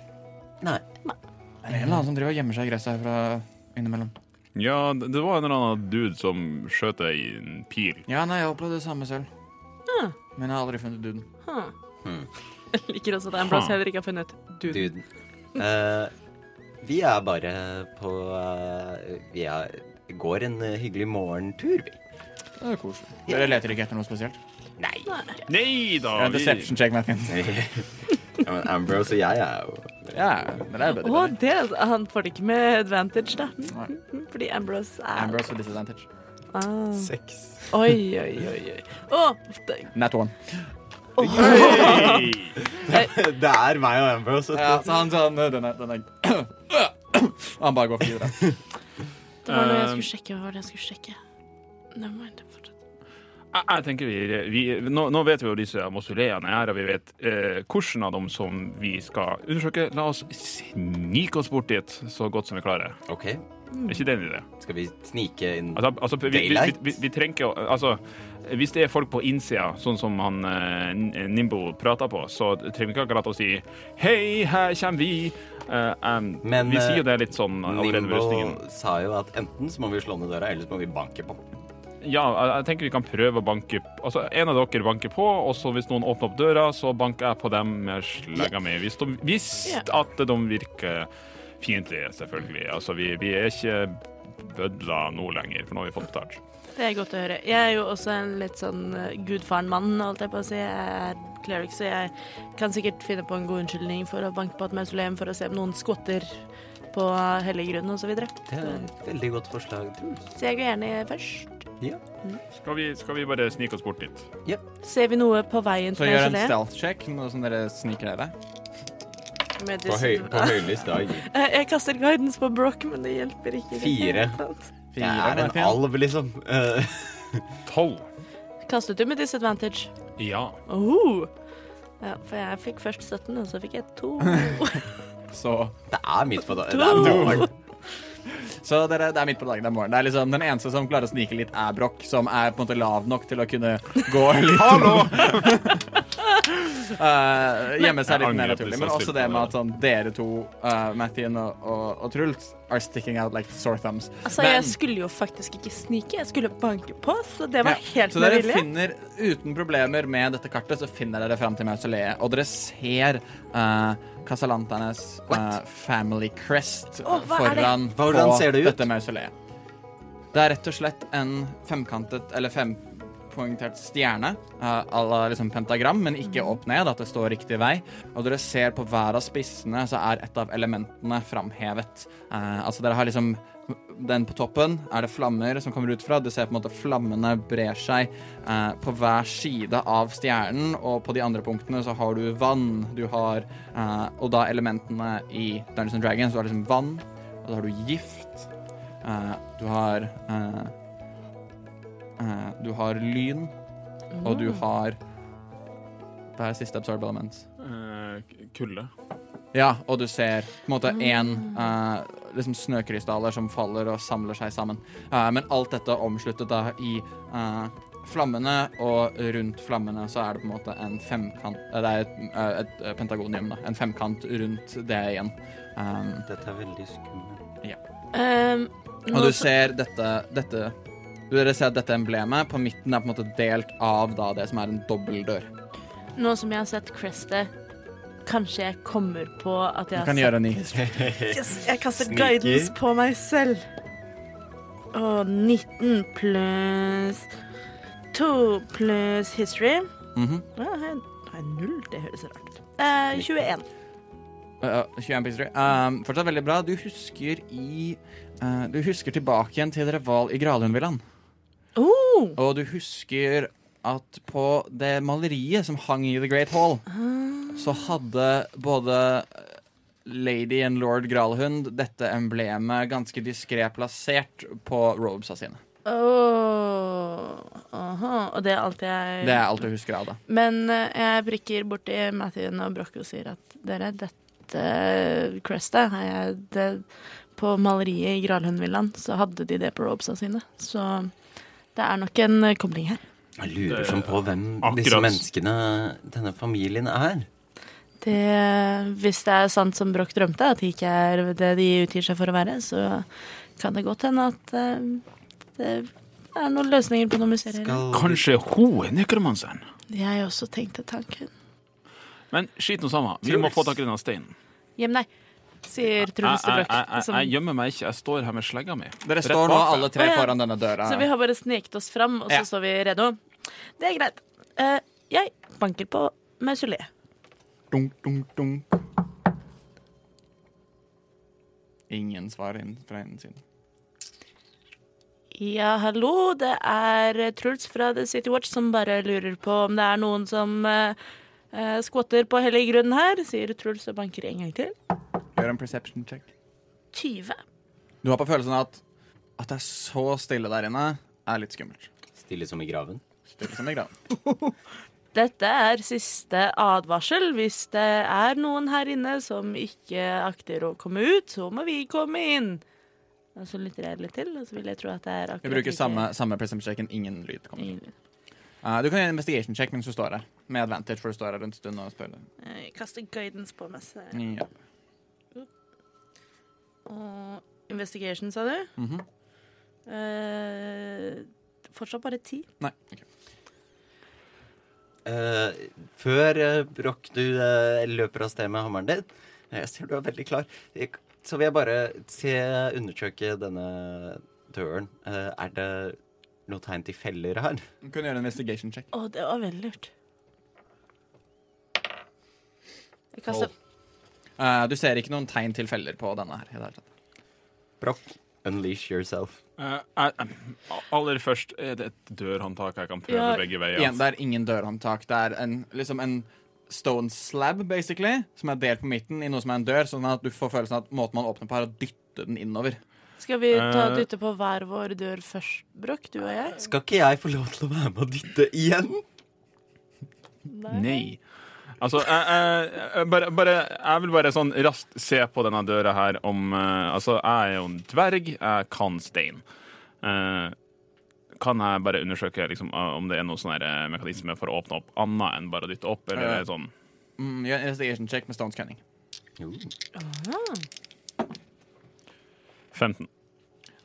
Speaker 6: Nei.
Speaker 5: Det er en eller annen som driver og gjemmer seg i gresset herfra innimellom.
Speaker 2: ja, det var en eller annen dude som skjøt deg i en pil.
Speaker 5: Ja, nei, jeg opplevde det samme selv.
Speaker 3: Ah.
Speaker 5: Men jeg har aldri funnet duden.
Speaker 3: Huh.
Speaker 6: Hmm.
Speaker 3: Jeg liker også at Ambrose
Speaker 2: Huh.
Speaker 3: heller ikke har funnet du.
Speaker 6: Duden. Eh, vi er bare på eh, Vi er, går en eh, hyggelig morgentur, vi.
Speaker 5: Det er koselig. Dere leter ikke etter noe spesielt?
Speaker 6: Nei.
Speaker 2: Nei da!
Speaker 5: Ja,
Speaker 2: vi-
Speaker 5: deception check, Matkin.
Speaker 6: Ja, men Ambrose og jeg er jo
Speaker 5: Ja, det
Speaker 3: Å,
Speaker 5: er bedre.
Speaker 3: det, han får det ikke med advantage, da. Hmm, Fordi Ambrose er
Speaker 5: Ambrose with disadvantage.
Speaker 3: Ah.
Speaker 6: seks.
Speaker 3: Oi, oi, oi. oi. Å, det-
Speaker 5: Nat one.
Speaker 2: Nei.
Speaker 6: Det er meg og Ambrose.
Speaker 5: Ja, så han sånn Den er, den er Og han bare går videre.
Speaker 3: Det var noe jeg
Speaker 2: Eh,
Speaker 6: Um,
Speaker 3: skulle sjekke. Hva var det jeg skulle sjekke? Nevermind. fortsett.
Speaker 2: Jeg, jeg tenker vi, vi nå, nå vet vi jo disse mausoleene er, og vi vet eh, hvilken av dem som vi skal undersøke. La oss snike oss bort dit så godt som vi klarer.
Speaker 6: OK,
Speaker 2: Er ikke det en idé?
Speaker 6: skal vi snike inn
Speaker 2: Altså, altså vi, vi, vi,
Speaker 6: Daylight?
Speaker 2: vi, vi trenger ikke å- Altså, hvis det er folk på innsida, sånn som han eh, N- Nimbo prata på, så trenger vi ikke akkurat å si Hei, her kommer vi. Eh, em,
Speaker 6: Men,
Speaker 2: vi
Speaker 6: eh,
Speaker 2: sier jo det litt sånn allerede ved rustningen.
Speaker 6: Nimbo sa jo at enten så må vi slå ned døra, eller så må vi banke på.
Speaker 2: Ja, jeg, jeg tenker vi kan prøve å banke Altså, en av dere banker på, og så hvis noen åpner opp døra, så banker jeg på dem med slegga mi. Hvis, de, hvis
Speaker 3: Ja.
Speaker 2: at de virker fiendtlige, selvfølgelig. Altså, vi, vi er ikke bødla nå lenger, for nå har vi fått betalt.
Speaker 3: Det er godt å høre. Jeg er jo også en litt sånn eh, gudfaren-mann, holdt jeg på å si. Jeg er cleric, så jeg kan sikkert finne på en god unnskyldning for å banke på et mausoleum for å se om noen skvotter på hellig grunn osv. Så, videre.
Speaker 6: Det er et veldig godt forslag, Truls.
Speaker 3: så jeg går gjerne først.
Speaker 6: Ja.
Speaker 2: Skal vi, skal vi bare snike oss bort dit?
Speaker 3: Ser vi noe på veien
Speaker 5: Så
Speaker 3: til
Speaker 5: gjør en
Speaker 3: mausoleet?
Speaker 5: stealth check, noe sånn som dere sniker dere.
Speaker 3: Med
Speaker 6: På, høy,
Speaker 3: disadvantage.
Speaker 6: på høylys dag.
Speaker 3: Eh, Jeg kaster guidance på Broch, men det hjelper ikke. i det
Speaker 6: Fire.
Speaker 3: hele tatt.
Speaker 6: Jeg er en
Speaker 5: Martin.
Speaker 6: alv, liksom. Eh,
Speaker 2: Tolv.
Speaker 3: Kastet du med disadvantage?
Speaker 2: Ja.
Speaker 3: Oh. Ja, for jeg fikk først 17, og så fikk jeg to.
Speaker 5: Så,
Speaker 6: det er midt på dagen. Det er morgen.
Speaker 5: så dere, det er midt på dagen, det er morgen. Det er liksom, den eneste som klarer å snike litt, er Broch, som er på en måte lav nok til å kunne gå litt Hallo! gjemme seg
Speaker 2: Jeg
Speaker 5: litt mer
Speaker 2: angrer på
Speaker 5: naturlig.
Speaker 2: det,
Speaker 5: Men
Speaker 2: så
Speaker 5: også
Speaker 2: stilt
Speaker 5: det
Speaker 2: på
Speaker 5: med
Speaker 2: det.
Speaker 5: at sånn, dere to, uh, Mathien og, og, og Truls, are sticking out like sore thumbs.
Speaker 3: Altså,
Speaker 5: Men-
Speaker 3: jeg skulle jo faktisk ikke snike, jeg skulle banke på, så det var
Speaker 5: Ja,
Speaker 3: helt
Speaker 5: Så
Speaker 3: med
Speaker 5: dere
Speaker 3: vilje.
Speaker 5: finner, uten problemer med dette kartet, så finner dere fram til mausoleet, og dere ser uh, Casalantanes eh, family crest
Speaker 3: Åh, hva er det?
Speaker 5: foran
Speaker 6: Hvordan
Speaker 5: på
Speaker 6: ser det ut?
Speaker 5: dette mausoleet. Det er rett og slett en femkantet, eller fempoengtert stjerne, eh, à la liksom pentagram, men ikke opp ned, at det står riktig vei. Og dere ser på hver av spissene, så er et av elementene framhevet. Eh, altså dere har liksom den på toppen er det flammer som kommer ut fra. Du ser på en måte flammene brer seg eh, på hver side av stjernen, og på de andre punktene så har du vann. Du har eh, Og da elementene i Dungeons and Dragons, du har liksom vann, og så har du gift. eh, du har eh, eh, Du har lyn, og du har Hva er siste absorb elements?
Speaker 2: Eh, kulde.
Speaker 5: Ja, og du ser på en måte én liksom snøkrystaller som faller og samler seg sammen. Eh, men alt dette omsluttet da i eh, flammene, og rundt flammene så er det på en måte en femkant eh, Det er et, eh, et eh, pentagonium, da. En femkant rundt det igjen. Um,
Speaker 6: Dette er veldig skummelt.
Speaker 3: Ehm, nå
Speaker 5: og du
Speaker 3: så-
Speaker 5: ser dette, dette Dere ser at dette emblemet på midten er på en måte delt av da det som er en dobbeltdør.
Speaker 3: Nå som jeg har sett Crestet, kanskje jeg kommer på at jeg har
Speaker 5: Du kan
Speaker 3: sett
Speaker 5: gjøre en ny
Speaker 3: yes, Jeg kastet
Speaker 6: Sneaky.
Speaker 3: guidance på meg selv. Og 19 pluss 2 pluss history.
Speaker 5: Mhm.
Speaker 3: Ja, har jeg- har jeg null? Det høres rart ut. Eh, 21.
Speaker 5: Uh, 21 Pixel Tree. Um, fortsatt veldig bra. Du husker i uh, Du husker tilbake igjen til Reval i Gralundvillaen.
Speaker 3: Oh!
Speaker 5: Og du husker at på det maleriet som hang i The Great Hall, så hadde både eh, Lady and Lord Gralhund dette emblemet ganske diskré plassert på robesa sine.
Speaker 3: Åh, aha. Og det er alt jeg
Speaker 5: Det er alt du husker av det.
Speaker 3: Men eh, jeg prikker borti Mathien og Broch og sier at dere, dette crestet har jeg det, På maleriet i Gralhundvillaen så hadde de det på robesa sine. Så det er nok en eh, kobling her.
Speaker 6: Jeg lurer som på hvem disse
Speaker 2: Akkurat.
Speaker 6: menneskene, denne familien, er.
Speaker 3: Det, hvis det er sant som Broch drømte, at de ikke er det de utgir seg for å være, så kan det godt hende at eh, det er noen løsninger på noen mysterier.
Speaker 6: Skal
Speaker 2: Kanskje hun er nekromanseren?
Speaker 3: Jeg også tenkte tanken.
Speaker 2: Men skit nå sammen. Vi må få tak i denne steinen.
Speaker 3: Hjem deg, sier Truls til
Speaker 2: jeg, jeg,
Speaker 3: Broch.
Speaker 2: jeg,
Speaker 3: som-
Speaker 2: jeg gjemmer meg ikke. Jeg står her med slegga mi.
Speaker 5: Dere
Speaker 2: Rett
Speaker 5: står nå
Speaker 2: bak deg.
Speaker 5: alle tre
Speaker 3: Å, ja.
Speaker 5: foran denne døra.
Speaker 3: Så vi har bare sneket oss fram, og så
Speaker 5: Ja.
Speaker 3: står vi redde. Det er greit. Eh, jeg banker på mausoleet.
Speaker 5: Dunk, dunk, dunk. Ingen svar inn fra innen siden.
Speaker 3: Ja, hallo, det er Truls fra The City Watch som bare lurer på om det er noen som eh, eh, skvatter på hellig grunn her, sier Truls og banker en gang til.
Speaker 5: Gjør en perception check.
Speaker 3: 20.
Speaker 5: Du har på følelsen at at det er så stille der inne, er litt skummelt.
Speaker 6: Stille som i graven.
Speaker 5: Stille som i graven.
Speaker 3: Dette er siste advarsel. Hvis det er noen her inne som ikke akter å komme ut, så må vi komme inn. Og så lytter jeg litt til, og så vil jeg tro at det er akkurat
Speaker 5: Vi bruker
Speaker 3: like-
Speaker 5: samme, samme perception checken, ingen lyd kommer.
Speaker 3: Ingen lyd.
Speaker 5: Eh, du kan gjøre en investigation check mens du står her. Med advantage, for du står her en stund og spør.
Speaker 3: Jeg kaster Eh, guidance på meg. så-
Speaker 5: Ja.
Speaker 3: Og investigation, sa du?
Speaker 5: Mhm.
Speaker 3: Eh, fortsatt bare ti.
Speaker 5: Nei. ok.
Speaker 6: Eh, før eh, Broch, du eh, løper av sted med hammeren din eh, Jeg ser du er veldig klar. Jeg, så vil jeg bare se undersøke denne døren. Eh, er det noe tegn til feller her?
Speaker 5: Du kan gjøre en investigation check.
Speaker 3: Å, det var veldig lurt. Jeg kaster
Speaker 5: Eh, du ser ikke noen tegn til feller på denne her. i det hele tatt.
Speaker 6: Broch, unleash yourself.
Speaker 2: Eh, jeg- eh, aller først er det et dørhåndtak jeg kan prøve
Speaker 3: Ja.
Speaker 2: begge
Speaker 5: Igjen,
Speaker 2: veier.
Speaker 5: det er ingen dørhåndtak. Det er en, liksom en stone slab, basically, som er delt på midten i noe som er en dør, sånn at du får følelsen av at måten man åpner på, er å dytte den innover.
Speaker 3: Skal vi ta
Speaker 2: Eh.
Speaker 3: dytte på hver vår dør først, Brokk? Du og jeg?
Speaker 6: Skal ikke jeg få lov til å være med og dytte igjen?
Speaker 2: Nei. Altså, jeg, jeg, jeg, bare, bare, jeg vil bare sånn raskt se på denne døra her om eh, Altså, jeg er jo en dverg. Jeg kan stein. Eh, kan jeg bare undersøke liksom, eh, om det er noen sånne her, eh, mekanisme for å åpne opp annet enn bare å dytte opp? Eller
Speaker 5: Ja.
Speaker 2: er det sånn
Speaker 5: Mm, gjør en investigation check med stones cunning.
Speaker 6: Jo.
Speaker 2: 15.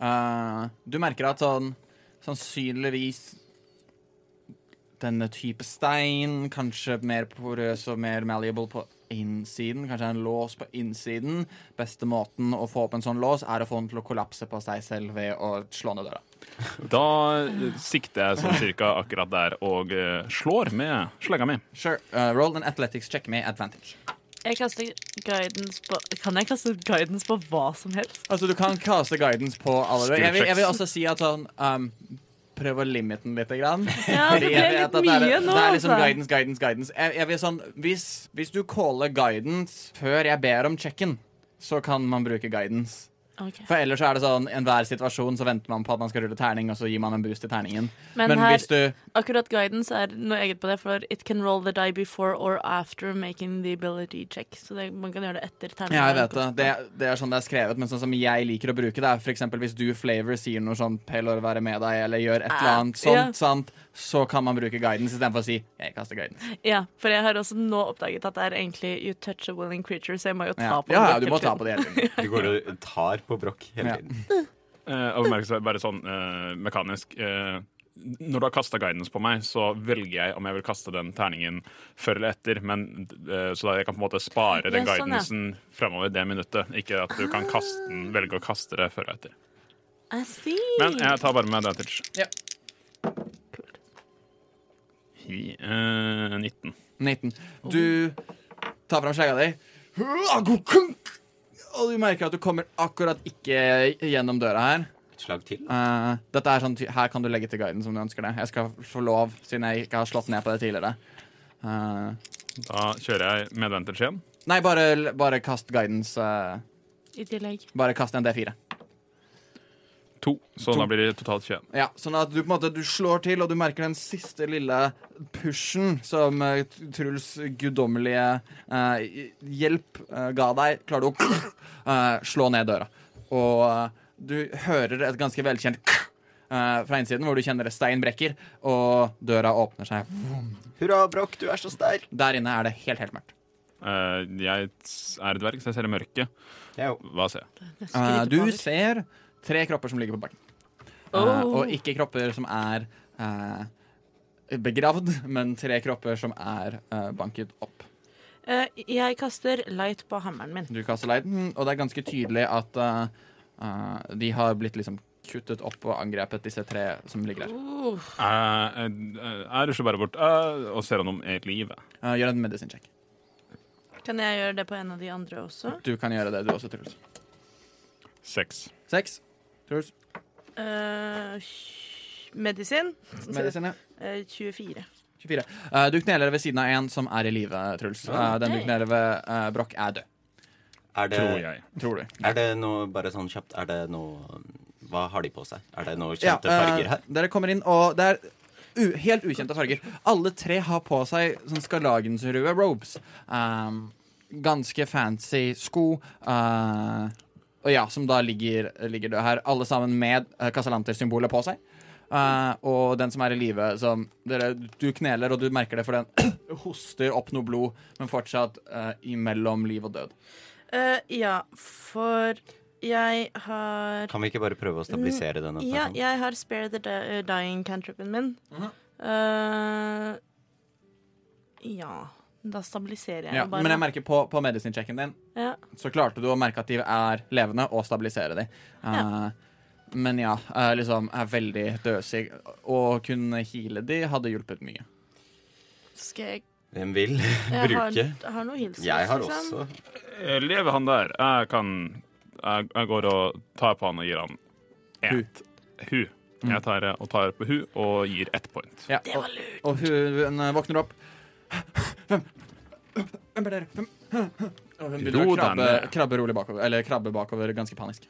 Speaker 5: Eh, du merker at sånn sannsynligvis denne type stein, kanskje mer porøs og mer malleable på innsiden, kanskje en lås på innsiden. Beste måten å få opp en sånn lås, er å få den til å kollapse på seg selv ved å slå ned døra.
Speaker 2: Da eh, sikter jeg sånn cirka akkurat der og eh, slår med slegga mi.
Speaker 5: Sure, eh, roll an athletics check med advantage.
Speaker 3: Jeg kaster guidance på Kan jeg kaste guidance på hva som helst?
Speaker 5: Altså, du kan kaste guidance på alle
Speaker 2: Skill
Speaker 5: jeg, vil- jeg vil
Speaker 2: checks.
Speaker 5: også si at sånn um, Prøv å limite den litt. Grann.
Speaker 3: Ja, det
Speaker 5: Fordi
Speaker 3: ble
Speaker 5: jeg vet
Speaker 3: litt
Speaker 5: at det
Speaker 3: mye
Speaker 5: er,
Speaker 3: nå,
Speaker 5: Det er liksom
Speaker 3: altså.
Speaker 5: guidance, guidance, guidance. Jeg, jeg vil sånn, hvis, hvis du caller guidance før jeg ber om checken, så kan man bruke guidance.
Speaker 3: Ok.
Speaker 5: For ellers så er det sånn, enhver situasjon så venter man på at man skal rulle terning, og så gir man en boost til terningen.
Speaker 3: Men
Speaker 5: Men,
Speaker 3: her-
Speaker 5: hvis du
Speaker 3: Akkurat guidance er noe eget på det, for it can roll the die before or after making the ability check. Så det, man kan gjøre det etter terningen.
Speaker 5: Ja, jeg vet det. det. Det er sånn det er skrevet, men sånn som jeg liker å bruke det, er for eksempel hvis du, Flavor, sier noe sånn 'Paylor, være med deg', eller gjør et eller
Speaker 3: Ah,
Speaker 5: annet sånt,
Speaker 3: ja.
Speaker 5: sant? så kan man bruke guidance istedenfor å si 'jeg kaster guidance'.
Speaker 3: Ja, for jeg har også nå oppdaget at det er egentlig you touch a willing creature, så jeg må jo ta
Speaker 5: Ja,
Speaker 3: på
Speaker 5: ja,
Speaker 3: det
Speaker 5: ja du må
Speaker 3: hele
Speaker 5: ta
Speaker 3: tiden.
Speaker 5: på det hele tiden.
Speaker 6: Du går og tar på Broch hele
Speaker 5: Ja.
Speaker 6: tiden.
Speaker 2: Eh, og merker seg bare sånn eh, mekanisk eh, Når du har kasta guidance på meg, så velger jeg om jeg vil kaste den terningen før eller etter, men, eh, så da jeg kan på en måte spare den
Speaker 3: Ja, sånn, ja.
Speaker 2: guidancen fremover det minuttet. Ikke at du kan kaste den, velge å kaste det før og etter.
Speaker 3: I see.
Speaker 2: Men jeg tar bare med advantage.
Speaker 5: Ja.
Speaker 3: Kult.
Speaker 2: Hi, eh, 19.
Speaker 5: 19.
Speaker 3: Oh.
Speaker 5: Du tar fram skjegga di, og du merker at du kommer akkurat ikke gjennom døra her.
Speaker 6: Et slag til.
Speaker 5: Eh, dette er sånn, ty- Her kan du legge til guidance om du ønsker det. Jeg skal få lov, siden jeg ikke har slått ned på det tidligere. Eh,
Speaker 2: Da kjører jeg med advantage igjen.
Speaker 5: nei, bare, bare kast guidance. eh,
Speaker 3: I tillegg.
Speaker 5: Bare kast en D4.
Speaker 2: To. Så da blir det totalt 21.
Speaker 5: Ja, sånn at du på en måte du slår til, og du merker den siste lille pushen som eh, Truls guddommelige eh, hjelp eh, ga deg. Klarer du å eh, slå ned døra. Og eh, du hører et ganske velkjent eh, fra innsiden, hvor du kjenner stein brekker, og døra åpner seg.
Speaker 6: Hurra, Broch, du er så sterk.
Speaker 5: Der inne er det helt, helt mørkt.
Speaker 2: Eh, jeg er dverg, så jeg ser i mørket.
Speaker 6: Jeg
Speaker 2: Hva ser jeg?
Speaker 3: Jeg
Speaker 5: Eh,
Speaker 3: skryter
Speaker 5: du
Speaker 3: på meg.
Speaker 5: ser tre kropper som ligger på bakken. Eh,
Speaker 3: Oh.
Speaker 5: og ikke kropper som er eh, begravd, men tre kropper som er eh, banket opp.
Speaker 3: Eh, jeg kaster light på hammeren min.
Speaker 5: Du kaster leiden, og det er ganske tydelig at eh, eh, de har blitt liksom kuttet opp og angrepet disse tre som ligger der.
Speaker 3: Uh,
Speaker 2: Jeg, jeg, Eh, jeg rusler bare bort eh, og ser om noen er i live.
Speaker 5: Eh, gjør en medisinsjekk.
Speaker 3: kan jeg gjøre det på en av de andre også?
Speaker 5: Du kan gjøre det, du også, Truls.
Speaker 2: Seks.
Speaker 5: Seks. Truls.
Speaker 3: Eh, medisin.
Speaker 5: Medisin, ja.
Speaker 3: Eh, 24.
Speaker 5: 24. Eh, du kneler ved siden av en som er i live, Truls. Eh, den du
Speaker 3: Hei.
Speaker 5: kneler ved, uh, Broch, er død.
Speaker 6: Er det,
Speaker 2: tror jeg.
Speaker 5: tror du.
Speaker 6: Er det noe bare sånn kjapt Er det noe Hva har de på seg? Er det noe
Speaker 5: Ja,
Speaker 6: kjente
Speaker 5: eh,
Speaker 6: farger her?
Speaker 5: Dere kommer inn, og det er u helt ukjente farger. Alle tre har på seg sånn skarlagensrøde robes. Um, ganske fancy sko. eh, og ja, som da ligger, ligger død her. Alle sammen med uh, Casalanter-symbolet på seg. Eh, og den som er i live, som dere, Du kneler, og du merker det, for den hoster opp noe blod, men fortsatt eh, imellom liv og død.
Speaker 3: Eh, ja, for jeg har
Speaker 6: Kan vi ikke bare prøve å stabilisere denne?
Speaker 3: Mm, Ja,
Speaker 6: personen?
Speaker 3: jeg har Spare the Di- eh, Dying cantripen min. Eh, ja. Da stabiliserer jeg
Speaker 5: Ja,
Speaker 3: jo bare.
Speaker 5: men jeg merker på, på medisin-checken din
Speaker 3: ja.
Speaker 5: så klarte du å merke at de er levende, og stabilisere dem.
Speaker 3: Ja.
Speaker 5: Men ja, eh, liksom er veldig døsig. Å kunne heale de hadde hjulpet mye.
Speaker 3: Skal jeg,
Speaker 6: Hvem vil
Speaker 3: jeg har,
Speaker 6: bruke?
Speaker 3: har noe hilsen.
Speaker 6: Jeg har også
Speaker 2: Eh, Lever han der? Jeg kan Jeg, jeg går og tar på han og gir han ett. Hu. Jeg tar eh, og tar på hu og gir ett point.
Speaker 5: Ja,
Speaker 3: Det
Speaker 5: og,
Speaker 3: var lurt.
Speaker 5: og hun eh, våkner opp. Hvem Hvem er dere? Hvem? Og hun begynner
Speaker 2: Ro
Speaker 5: å krabbe,
Speaker 2: deg ned.
Speaker 5: krabbe rolig bakover, eller krabbe bakover ganske panisk.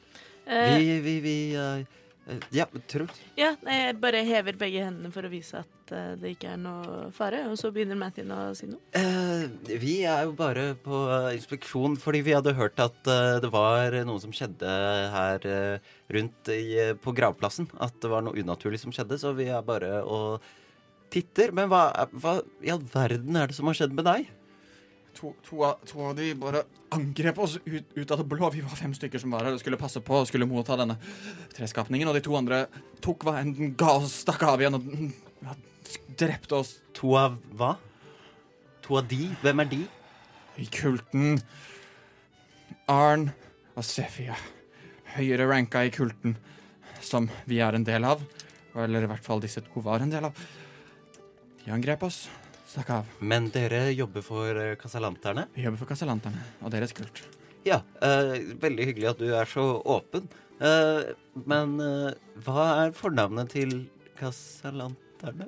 Speaker 3: Eh,
Speaker 6: Vi, vi, vi eh, eh, Ja, Truls.
Speaker 3: ja, nei, jeg bare hever begge hendene for å vise at eh, det ikke er noe fare, og så begynner Mattin å si noe.
Speaker 6: Eh, vi er jo bare på eh, inspeksjon fordi vi hadde hørt at eh, det var noe som skjedde her eh, rundt i, eh, på gravplassen. At det var noe unaturlig som skjedde, så vi er bare og titter. Men hva, hva i all verden er det som har skjedd med deg?
Speaker 5: To, to, av, to av de bare angrep oss ut, ut av det blå. Vi var fem stykker som var her og skulle passe på og skulle motta denne treskapningen. Og de to andre tok hva enn den ga og stakk av igjen og ja, drepte oss
Speaker 6: To av hva? To av de? Hvem er de?
Speaker 5: I kulten Arn og Sefia Høyere ranka i kulten Som vi er en del av Eller i hvert fall disse to var en del av De angrep oss Stakk av
Speaker 6: Men dere jobber for eh, Casalanterne?
Speaker 5: Vi jobber for kasselanterne og deres kult
Speaker 6: Ja, eh, veldig hyggelig at du er så åpen. Eh, men eh, hva er fornavnet til Casalanterne?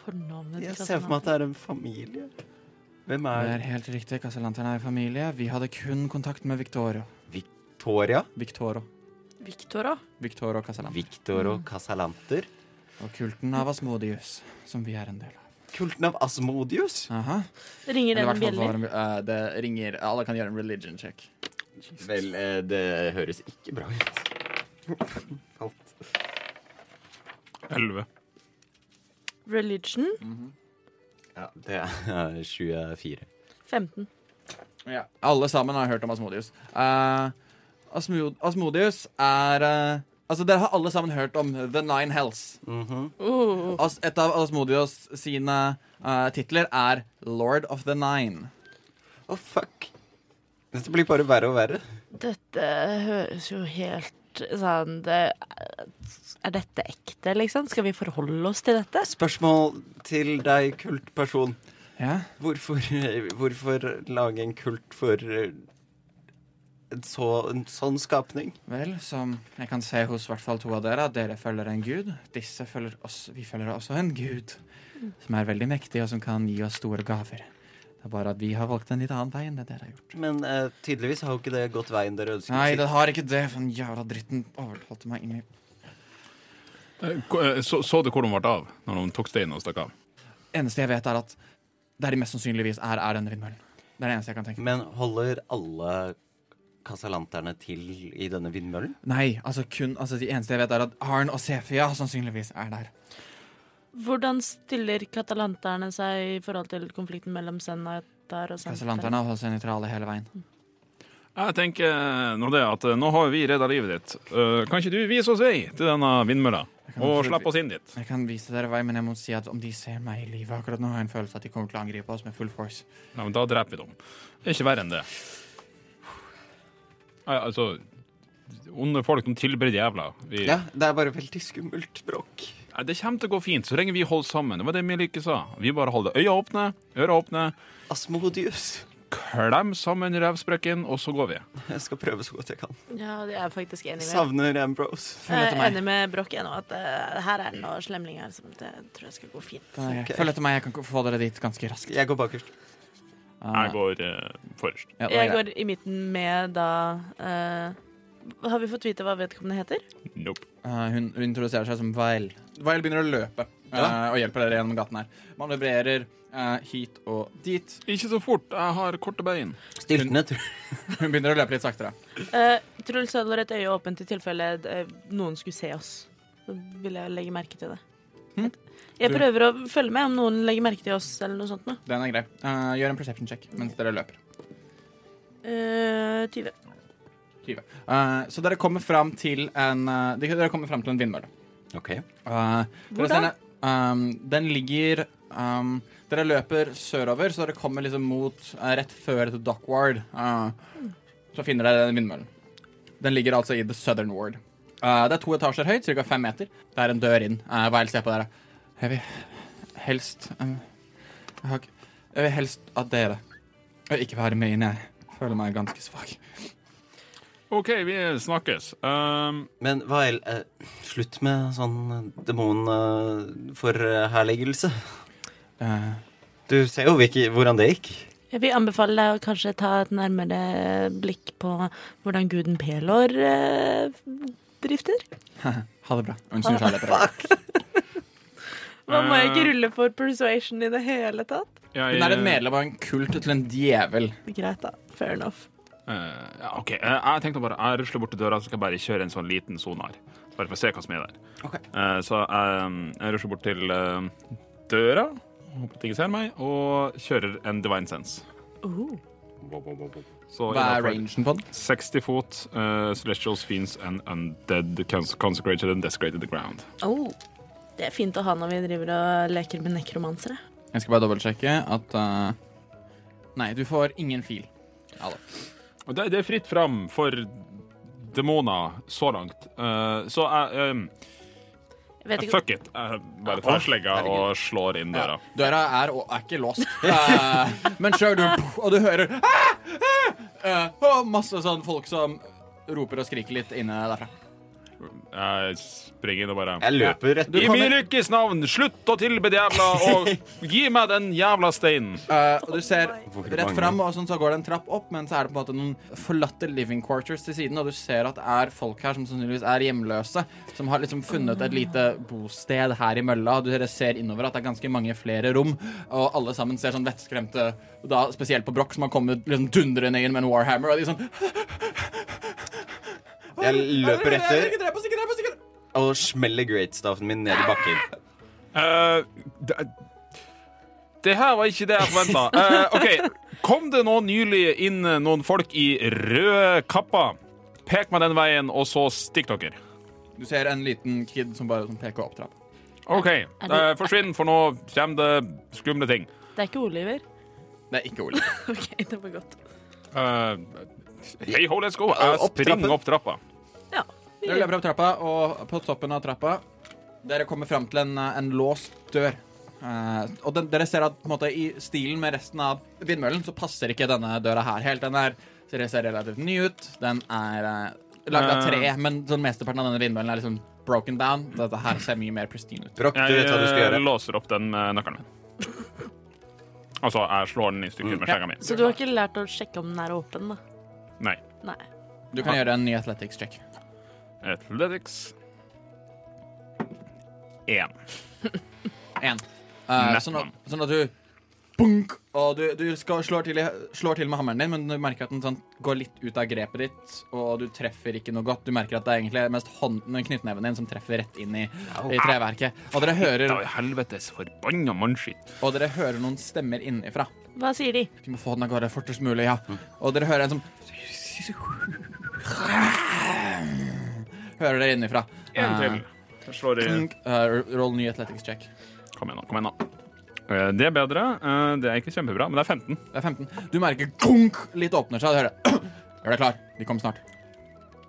Speaker 3: Fornavnet
Speaker 6: Jeg ser for meg at det er en familie. Hvem
Speaker 5: Det
Speaker 6: er
Speaker 5: er helt riktig, kasselanterne er familie Vi hadde kun kontakt med Victorio
Speaker 6: Victoria?
Speaker 5: Victoro
Speaker 3: Victor òg.
Speaker 5: Victoro Casalant
Speaker 6: Victor og Casalanter.
Speaker 5: Og kulten av Asmodius Som vi er en del av
Speaker 6: Kulten av Asmodius?
Speaker 5: Aha
Speaker 3: Ringer
Speaker 5: Eller i
Speaker 3: den en
Speaker 5: hvert fall var
Speaker 3: bjelle?
Speaker 5: en- eh, Det ringer Alle kan gjøre en religion check
Speaker 6: Vel, eh, det høres ikke bra ut. Alt.
Speaker 2: Elleve.
Speaker 3: Religion?
Speaker 6: Ja, det er 24.
Speaker 3: 15.
Speaker 5: Ja. Alle sammen har hørt om Asmodius. Eh, Asmo Asmodius er eh, Altså, Dere har alle sammen hørt om The Nine Hells.
Speaker 6: Mhm.
Speaker 3: Uh,
Speaker 5: As et av Asmodius sine eh, titler er Lord of the Nine.
Speaker 6: Å, fuck. Dette blir bare verre og verre.
Speaker 3: dette høres jo helt sånn det, Er dette ekte, liksom? Skal vi forholde oss til dette?
Speaker 6: Spørsmål til deg, kultperson.
Speaker 5: Ja,
Speaker 6: Hvorfor, hvorfor lage en kult for eh, en, så, en sånn skapning?
Speaker 5: Vel, som jeg kan se hos hvert fall to av dere, at dere følger en gud. Disse følger oss, Vi følger også en gud som er veldig mektig, og som kan gi oss store gaver. Det er bare at vi har valgt en litt annen vei enn det dere har gjort.
Speaker 6: Men eh, tydeligvis har jo ikke det gått veien dere ønsket.
Speaker 5: Nei, det har ikke det, for den jævla dritten overtalte meg inn i
Speaker 2: Eh, ko- eh, Så, så du hvor de ble av når de tok steinen og stakk av?
Speaker 5: eneste jeg vet, er at der de mest sannsynligvis er, er denne vindmøllen. Det er det eneste jeg kan tenke.
Speaker 6: Men holder alle kasalanterne til i denne vindmøllen?
Speaker 5: Nei, altså kun, altså de eneste jeg vet, er at Arn og Sefia sannsynligvis er der.
Speaker 3: Hvordan stiller katalanterne seg i forhold til konflikten mellom Senatar og Senatar?
Speaker 5: Kasselanterne har holdt seg nøytrale hele veien.
Speaker 2: Jeg tenker nå det at eh, nå har vi redda livet ditt. Eh, Kan ikke du vise oss vei til denne vindmølla?
Speaker 5: kan
Speaker 2: Og
Speaker 5: absolutt-
Speaker 2: slipp oss inn dit.
Speaker 5: Jeg kan vise dere vei, men jeg må si at om de ser meg i live akkurat nå, har jeg en følelse at de kommer til å angripe oss med full force.
Speaker 2: Ja, men da dreper vi dem. Det er ikke verre enn det. Nei, altså Onde folk de tilbereder jævla. Vi,
Speaker 6: Ja, det er bare veldig skummelt bråk.
Speaker 2: Nei, Det kommer til å gå fint så lenge vi holder sammen. Det var det Milike sa. Vi bare holder øya åpne, øra åpne,
Speaker 6: Asmodius.
Speaker 2: klem sammen revsprekken, og så går vi.
Speaker 6: Jeg skal prøve så godt jeg kan.
Speaker 3: Ja, det er jeg faktisk enig med.
Speaker 6: Savner Ambrose.
Speaker 5: Følg
Speaker 3: Jeg
Speaker 5: etter
Speaker 3: er
Speaker 5: meg.
Speaker 3: enig med Broch ennå, at eh, her er det noen slemlinger som det tror jeg skal gå fint.
Speaker 5: Da er jeg-
Speaker 6: Ok.
Speaker 5: Følg etter meg, jeg kan få dere dit ganske raskt.
Speaker 6: Jeg går bakerst.
Speaker 5: Eh,
Speaker 2: Jeg går eh, forrest.
Speaker 5: ja, det var
Speaker 3: Jeg
Speaker 5: greit.
Speaker 3: går i midten med da eh, Har vi fått vite hva vedkommende heter?
Speaker 2: Nope.
Speaker 5: Eh, hun, hun introduserer seg som Vael. Vael begynner å løpe eh, og hjelper dere gjennom gaten her. Manøvrerer eh, hit og dit.
Speaker 2: Ikke så fort. Jeg har korte bein.
Speaker 6: Styrtene, tror
Speaker 5: Hun begynner å løpe litt saktere.
Speaker 3: Eh, Truls holder et øye åpent i tilfelle eh, noen skulle se oss. Så vil jeg legge merke til det.
Speaker 5: Hm?
Speaker 3: Jeg
Speaker 5: Du-
Speaker 3: prøver å følge med om noen legger merke til oss eller noe sånt noe.
Speaker 5: Den er grei. Eh, gjør en perception check mens dere løper.
Speaker 3: Eh, 20.
Speaker 5: Eh, så dere kommer fram til en eh, de- Dere kommer fram til en vindmølle.
Speaker 6: jeg. OK.
Speaker 5: Eh, dere
Speaker 3: Hvor
Speaker 5: ser
Speaker 3: da?
Speaker 5: det- ehm, den ligger ehm, Dere løper sørover, så dere kommer liksom mot eh, rett før til Dockward. eh, så finner dere den vindmøllen. Den ligger altså i The Southern Ward. Eh, det er to etasjer høyt, ca. fem meter. Det er en dør inn. Uh, hva helst ser på dere? Jeg vil helst ehm, jeg, har ikke, jeg vil helst at dere vil ikke være med inn. Jeg føler meg ganske svak.
Speaker 2: OK, vi snakkes. Um,
Speaker 6: Men hva el- eh, Slutt med sånn demonforherligelse.
Speaker 5: Eh,
Speaker 6: Du ser jo hvilke, hvordan det gikk.
Speaker 3: Jeg vil anbefale deg å kanskje ta et nærmere blikk på hvordan guden Pelor eh, drifter.
Speaker 5: ha det bra. Hun snur seg og løper.
Speaker 3: Hva må jeg
Speaker 2: Eh.
Speaker 3: ikke rulle for persuasion i det hele tatt?
Speaker 2: jeg,
Speaker 5: Hun er et medlem av en kult til en djevel.
Speaker 3: Greit, da. Fair enough.
Speaker 2: eh, ja, OK. eh, Jeg tenkte bare Jeg rusler bort til døra, så skal jeg bare kjøre en sånn liten sonar. Bare for å se hva som er der.
Speaker 6: Ok.
Speaker 2: Eh, så jeg, jeg rusler bort til eh, døra, håper at ingen ser meg, og kjører en divine sense.
Speaker 3: Oh.
Speaker 2: Så
Speaker 5: Hva er
Speaker 2: innenfor
Speaker 5: rangen på den?
Speaker 2: 60 fot, eh, Celestials, Fiends and Undead cons- Consecrated and Desecrated the Ground.
Speaker 3: Oh. Det er fint å ha når vi driver og leker med nekromansere.
Speaker 5: Jeg skal bare dobbeltsjekke at eh, Nei, du får ingen fil.
Speaker 2: Og det, det er fritt fram for demoner så langt. Eh, så jeg
Speaker 3: Jeg vet
Speaker 2: eh,
Speaker 3: ikke,
Speaker 2: Fuck it. Jeg bare tar slegga og slår inn døra.
Speaker 5: Døra er, og er ikke låst. Eh, men sjøl du puff, Og du hører ah, ah, eh, og masse sånn folk som roper og skriker litt inne derfra.
Speaker 2: Jeg springer inn og bare
Speaker 6: Jeg løper rett
Speaker 2: I min lykkes navn, slutt å tilbe djevla, og gi meg den jævla steinen.
Speaker 5: Eh, og du ser
Speaker 6: Hvor
Speaker 5: rett
Speaker 6: mange?
Speaker 5: fram, og sånn så går det en trapp opp, men så er det på en måte noen forlatte living quarters til siden, og du ser at det er folk her som sannsynligvis er hjemløse, som har liksom funnet et lite bosted her i mølla. og Du ser innover at det er ganske mange flere rom, og alle sammen ser sånn vettskremte da, Spesielt på Broch, som har kommet liksom dundrende inn med en Warhammer, og de sånn
Speaker 6: Jeg løper etter
Speaker 5: Ikke drep oss, ikke drep oss, ikke drep oss!
Speaker 6: og smeller greatstaffen min ned i bakken.
Speaker 2: Eh, det, det her var ikke det jeg forventa. OK, kom det nå nylig inn noen folk i røde kapper? Pek meg den veien, og så stikk dere.
Speaker 5: Du ser en liten kid som bare sånn peker opp trappa.
Speaker 2: OK, eh, forsvinn, for nå kommer det skumle ting.
Speaker 3: det er ikke Oliver.
Speaker 5: Det er ikke Ole.
Speaker 3: OK, det var godt.
Speaker 2: Eh, Hei ho, let's go. Jeg
Speaker 6: Opp trappen.
Speaker 2: springer opp trappa.
Speaker 3: Ja.
Speaker 5: Dere løper opp trappa, og på toppen av trappa Dere kommer fram til en, eh, en låst dør. Eh, og den, dere ser at på en måte, i stilen med resten av vindmøllen så passer ikke denne døra her helt. Den er, så dere ser relativt ny ut. Den er uh, lagd av tre,
Speaker 2: Eh.
Speaker 5: men sånn mesteparten av denne vindmøllen er liksom broken down. Dette her ser mye mer pristine ut.
Speaker 6: Broch, du
Speaker 2: Jeg
Speaker 6: vet hva du skal
Speaker 2: eh,
Speaker 6: gjøre.
Speaker 2: låser opp den med nøkkelen min. Altså, jeg slår den i stykker
Speaker 6: Mm.
Speaker 2: med slegga mi.
Speaker 3: Så du har ikke lært å sjekke om den er åpen, da?
Speaker 2: Nei.
Speaker 3: Nei.
Speaker 5: Du kan gjøre en ny athletics check.
Speaker 2: Athletics. Én.
Speaker 5: Én. Eh,
Speaker 2: Nett
Speaker 5: sånn, at-
Speaker 2: mann.
Speaker 5: sånn at du Bunk! Og du, du skal slår, til, i- slår til med hammeren din, men du merker at den sånn, går litt ut av grepet ditt, og du treffer ikke noe godt. Du merker at det er egentlig mest hånden, knyttneven din som treffer rett inn i, i treverket. Og dere,
Speaker 2: Da
Speaker 5: hører,
Speaker 2: er helvetes forbanna mannskitt.
Speaker 5: og dere hører noen stemmer innenfra.
Speaker 3: Hva sier de?
Speaker 5: Vi må få den av gårde fortest mulig, ja. Og dere hører en som Hører dere innenfra.
Speaker 2: En
Speaker 5: Eh,
Speaker 2: til. Jeg slår i
Speaker 5: bunk. Eh, roll ny athletics check.
Speaker 2: Mm. Kom igjen, nå. kom igjen nå. Eh, Det er bedre. Eh, Det er ikke kjempebra, men det er 15.
Speaker 5: Det er 15. Du merker gunk litt åpner seg. Du hører Gjør deg klar. De kommer snart.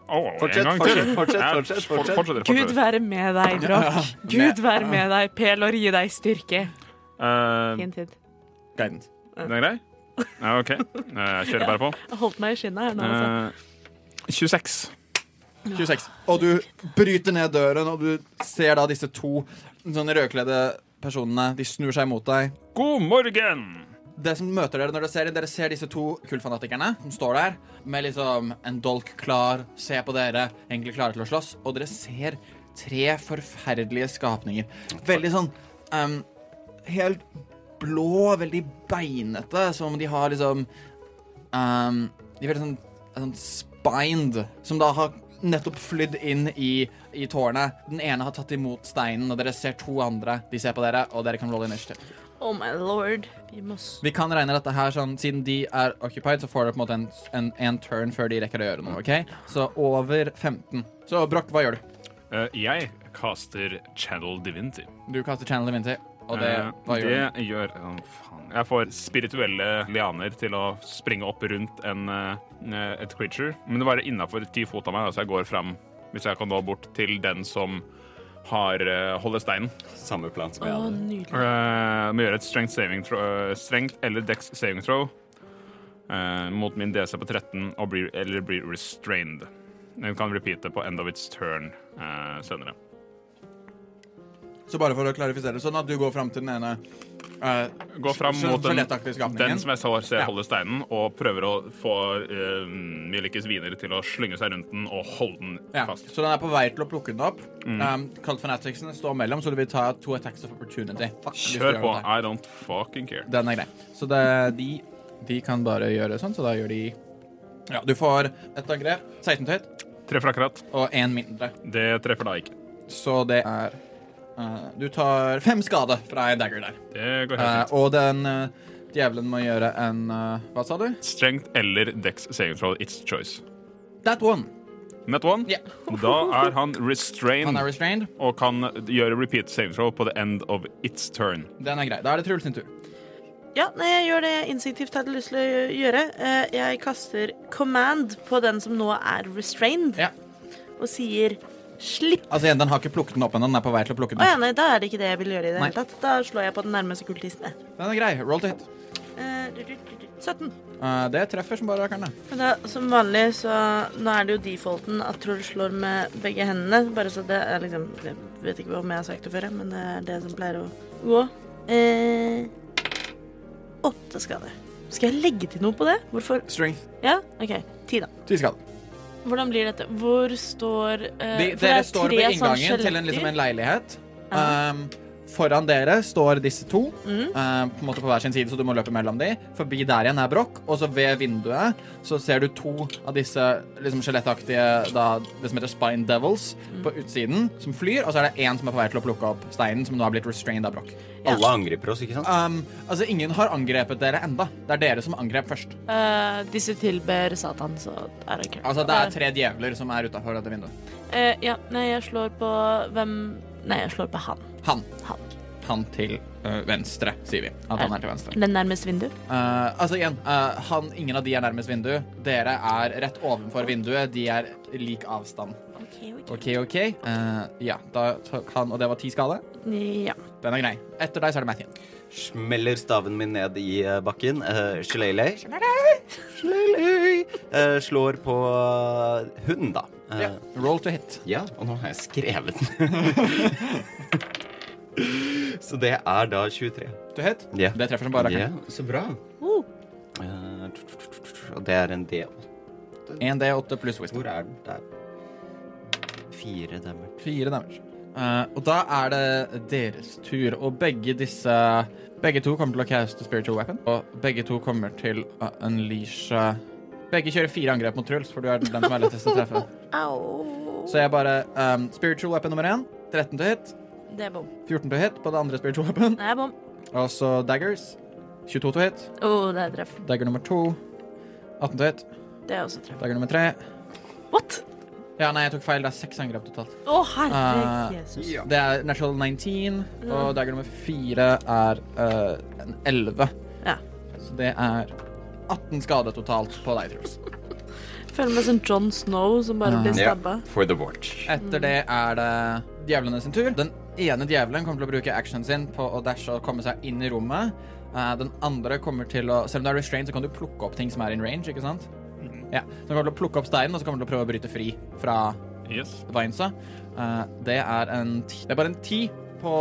Speaker 2: Åh, en
Speaker 6: Fortsett,
Speaker 2: gang
Speaker 6: fortsett,
Speaker 2: til.
Speaker 6: fortsett,
Speaker 2: Jeg-
Speaker 6: fortsett,
Speaker 2: for-
Speaker 6: fortsett.
Speaker 2: fortsetter,
Speaker 3: Gud
Speaker 2: fortsetter.
Speaker 3: være med deg, Broch. Gud være med deg. Pelor, gi deg styrke.
Speaker 2: Eh,
Speaker 3: Fin tid.
Speaker 5: Guidance.
Speaker 2: Den er grei? Ja, OK. Eh, Jeg kjører bare på.
Speaker 3: Jeg holdt meg i skinnet her nå, altså.
Speaker 2: Eh, 26.
Speaker 5: 26. Og du bryter ned døren, og du ser da sånn disse to sånne rødkledde personene. De snur seg mot deg.
Speaker 2: God morgen!
Speaker 5: det som møter dere når dere ser inn, dere ser disse to kultfanatikerne som står der med liksom en dolk klar, ser på dere, egentlig klare til å slåss, og dere ser tre forferdelige skapninger. Veldig sånn em, helt blå, veldig beinete, som om de har liksom em, De er veldig sånn, sånn spined, som da har nettopp flydd inn i, i tårnet. Den ene har tatt imot steinen, og dere ser to andre. De ser på dere, og dere kan rolle initiativ.
Speaker 3: Oh my lord. Vi må s-
Speaker 5: Vi kan regne dette her sånn Siden de er occupied, så får dere på en måte en, en, en turn før de rekker å gjøre noe. ok? Så over 15. Så Broch, hva gjør du?
Speaker 2: Eh, jeg caster Channel Divinity.
Speaker 5: Du kaster Channel Divinity, og det
Speaker 2: Eh,
Speaker 5: Hva gjør du?
Speaker 2: det gjør Å, faen. Jeg får spirituelle lianer til å springe opp rundt en, eh, et creature. Men det var innafor ti fot av meg, da, så jeg går fram, hvis jeg kan nå bort, til den som har eh, holder steinen.
Speaker 6: Samme plan som
Speaker 3: Å,
Speaker 6: jeg hadde.
Speaker 3: nydelig.
Speaker 2: Uh, må gjøre et strength, saving throw, eh, strength eller dex saving throw eh, mot min DC på 13 og blir, eller blir restrained. Den kan repeate på end of its turn eh, senere.
Speaker 5: Så bare for å klarifisere, sånn at du går fram til den ene eh,
Speaker 2: Gå fram
Speaker 5: skj-
Speaker 2: mot den,
Speaker 5: skjelettaktige skapningen.
Speaker 2: den som jeg så ser
Speaker 5: Ja.
Speaker 2: holde steinen, og prøver å få uh, Milikis viner til å slynge seg rundt den og holde den
Speaker 5: ja.
Speaker 2: fast. Mm.
Speaker 5: Så den er på vei til å plukke den opp. Um, Cult Fanaticsene står mellom, så du vil ta to attacks of opportunity. Fuck, hvis du
Speaker 2: Kjør
Speaker 5: gjør
Speaker 2: på.
Speaker 5: dette.
Speaker 2: I don't fucking care.
Speaker 5: Den er grei. Så det, de, de kan bare gjøre sånn, så da gjør de Ja, du får et angrep. 16 til høyt
Speaker 2: Treffer akkurat.
Speaker 5: og én mindre.
Speaker 2: Det treffer da ikke.
Speaker 5: Så det er eh, Du tar fem skade fra en dagger der.
Speaker 2: Det går
Speaker 5: Eh,
Speaker 2: helt fint.
Speaker 5: og den eh, djevelen må gjøre en eh, Hva sa du?
Speaker 2: Strength eller dex saving throw, it's choice.
Speaker 5: That one.
Speaker 2: Net one.
Speaker 5: Ja.
Speaker 2: Da er han restrained
Speaker 5: Han er restrained.
Speaker 2: og kan gjøre repeat saving throw på the end of its turn.
Speaker 5: Den er grei. Da er det Truls sin tur.
Speaker 3: Ja, nei, jeg gjør det jeg instinktivt hadde lyst til å gjø- gjøre. Eh, Jeg kaster command på den som nå er restrained,
Speaker 5: Ja.
Speaker 3: og sier slipp.
Speaker 5: Altså, igjen, Den har ikke plukket den opp ennå. Den er på vei til å plukke
Speaker 3: Å
Speaker 5: den.
Speaker 3: ja, nei, da er det ikke det jeg vil gjøre i det
Speaker 5: Nei.
Speaker 3: hele tatt. Da slår jeg på den nærmeste kultisten. jeg.
Speaker 5: Den er grei. Roll to hit.
Speaker 3: Eh, du, du, du, du. 17.
Speaker 5: Eh, det treffer som bare rakkeren. det.
Speaker 3: Men da, som vanlig, så nå er det jo defaulten at Truls slår med begge hendene. Bare så det er liksom Jeg vet ikke om jeg har sagt det før, jeg, men det er det som pleier å gå. Eh, åtte skader. Skal jeg legge til noe på det? Hvorfor?
Speaker 5: Strength.
Speaker 3: Ja, OK. Ti, da.
Speaker 5: Ti skade.
Speaker 3: Hvordan blir dette? Hvor står eh,
Speaker 5: De,
Speaker 3: for det
Speaker 5: dere
Speaker 3: er
Speaker 5: står
Speaker 3: tre
Speaker 5: ved
Speaker 3: sånne
Speaker 5: inngangen til en, liksom en leilighet.
Speaker 3: Ja.
Speaker 5: Um, foran dere står disse to,
Speaker 3: Mm.
Speaker 5: uh, på en måte på hver sin side, så du må løpe mellom dem. Forbi der igjen er Broch, og så ved vinduet så ser du to av disse liksom skjelettaktige da, Det som heter Spine Devils
Speaker 3: Mm.
Speaker 5: på utsiden, som flyr, og så er det én som er på vei til å plukke opp steinen, som nå har blitt restrained av Broch.
Speaker 3: Ja.
Speaker 6: Alle angriper oss, ikke sant?
Speaker 5: Um, altså, ingen har angrepet dere enda. Det er dere som angrep først.
Speaker 7: Eh, disse tilber Satan, så er det
Speaker 5: Altså, det er tre djevler som er utafor dette vinduet.
Speaker 3: Eh, ja, nei, jeg slår på hvem Nei, jeg slår på han.
Speaker 5: Han.
Speaker 3: Han.
Speaker 5: Han til uh, venstre, sier vi. At han er til venstre.
Speaker 3: Den nærmeste vinduet.
Speaker 5: Eh, altså igjen, eh, han, ingen av de er nærmest vindu. Dere er rett ovenfor vinduet. De er lik avstand. OK, OK. Eh, ja, da tok han, og det var ti skade.
Speaker 3: Ja.
Speaker 5: Den er grei. Etter deg så er det Mathien.
Speaker 6: Smeller staven min ned i eh, bakken. Uh, Shillelay. Shillelay. Eh, slår på hunden, da. Eh,
Speaker 5: Ja. Roll to hit.
Speaker 6: ja, og nå har jeg skrevet den. Så det er da 23.
Speaker 5: To hit.
Speaker 6: Ja.
Speaker 5: Det treffer som bare
Speaker 6: Ja,
Speaker 5: rakkeren.
Speaker 6: så bra.
Speaker 3: Oh.
Speaker 6: Eh, tr- tr- tr- tr- tr- Og det er en D8.
Speaker 5: 1D8 pluss wisdom.
Speaker 6: Hvor er den? Der. Fire damage.
Speaker 5: Fire damage. Eh, og da er det deres tur, og begge disse Begge to kommer til å caste spiritual weapon, og begge to kommer til å unleashe Begge kjører fire angrep mot Truls, for du er den som er lettest å treffe.
Speaker 3: Au.
Speaker 5: Så jeg bare um, Spiritual weapon nummer én. 13 til hit.
Speaker 3: Det er bom.
Speaker 5: 14 til hit på det andre spiritual weapon.
Speaker 3: Det er bom.
Speaker 5: Og så daggers. 22 til hit.
Speaker 3: Å, det er treff.
Speaker 5: Dagger nummer to. 18 til hit.
Speaker 3: Det er også treff.
Speaker 5: Dagger nummer tre.
Speaker 3: What?
Speaker 5: Ja, nei, jeg tok feil. Det er seks angrep totalt.
Speaker 3: Å, herre
Speaker 5: Eh,
Speaker 3: Jesus.
Speaker 5: Det er natural 19, og dagger nummer fire er eh, en 11.
Speaker 3: Ja.
Speaker 5: Så det er 18 skade totalt på deg, Truls.
Speaker 3: Jeg føler meg som John Snow som bare blir
Speaker 6: Ja.
Speaker 3: stabba.
Speaker 6: For the watch.
Speaker 5: Etter det er det djevlene sin tur. Den ene djevelen kommer til å bruke actionen sin på å dashe og komme seg inn i rommet. Eh, den andre kommer til å Selv om du er restrained, så kan du plukke opp ting som er in range, ikke sant? Ja. Så den kommer til å plukke opp steinen, og så kommer den til å prøve å bryte fri fra
Speaker 2: Yes.
Speaker 5: Vinesa. Eh, det er en ti. Det er bare en ti på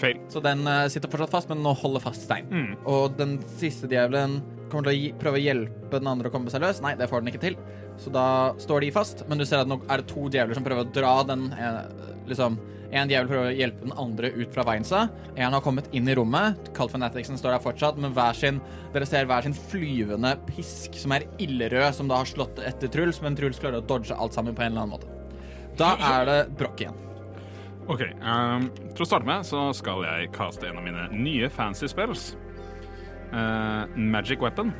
Speaker 2: Feil.
Speaker 5: Så den eh, sitter fortsatt fast, men nå holder fast stein.
Speaker 2: Mm.
Speaker 5: Og den siste djevelen kommer til å gi, prøve å hjelpe den andre å komme seg løs. Nei, det får den ikke til. Så da står de fast, men du ser at nå er det to djevler som prøver å dra den eh, liksom en djevel prøver å hjelpe den andre ut fra veien seg. En har kommet inn i rommet. Cult Fanaticsen står der fortsatt, men hver sin, dere ser hver sin flyvende pisk, som er illerød, som da har slått etter Truls, men Truls klarer å dodge alt sammen på en eller annen måte. Da er det Brokk igjen.
Speaker 2: OK. ehm, til å starte med så skal jeg kaste en av mine nye fancy spells. Eh, magic Weapon,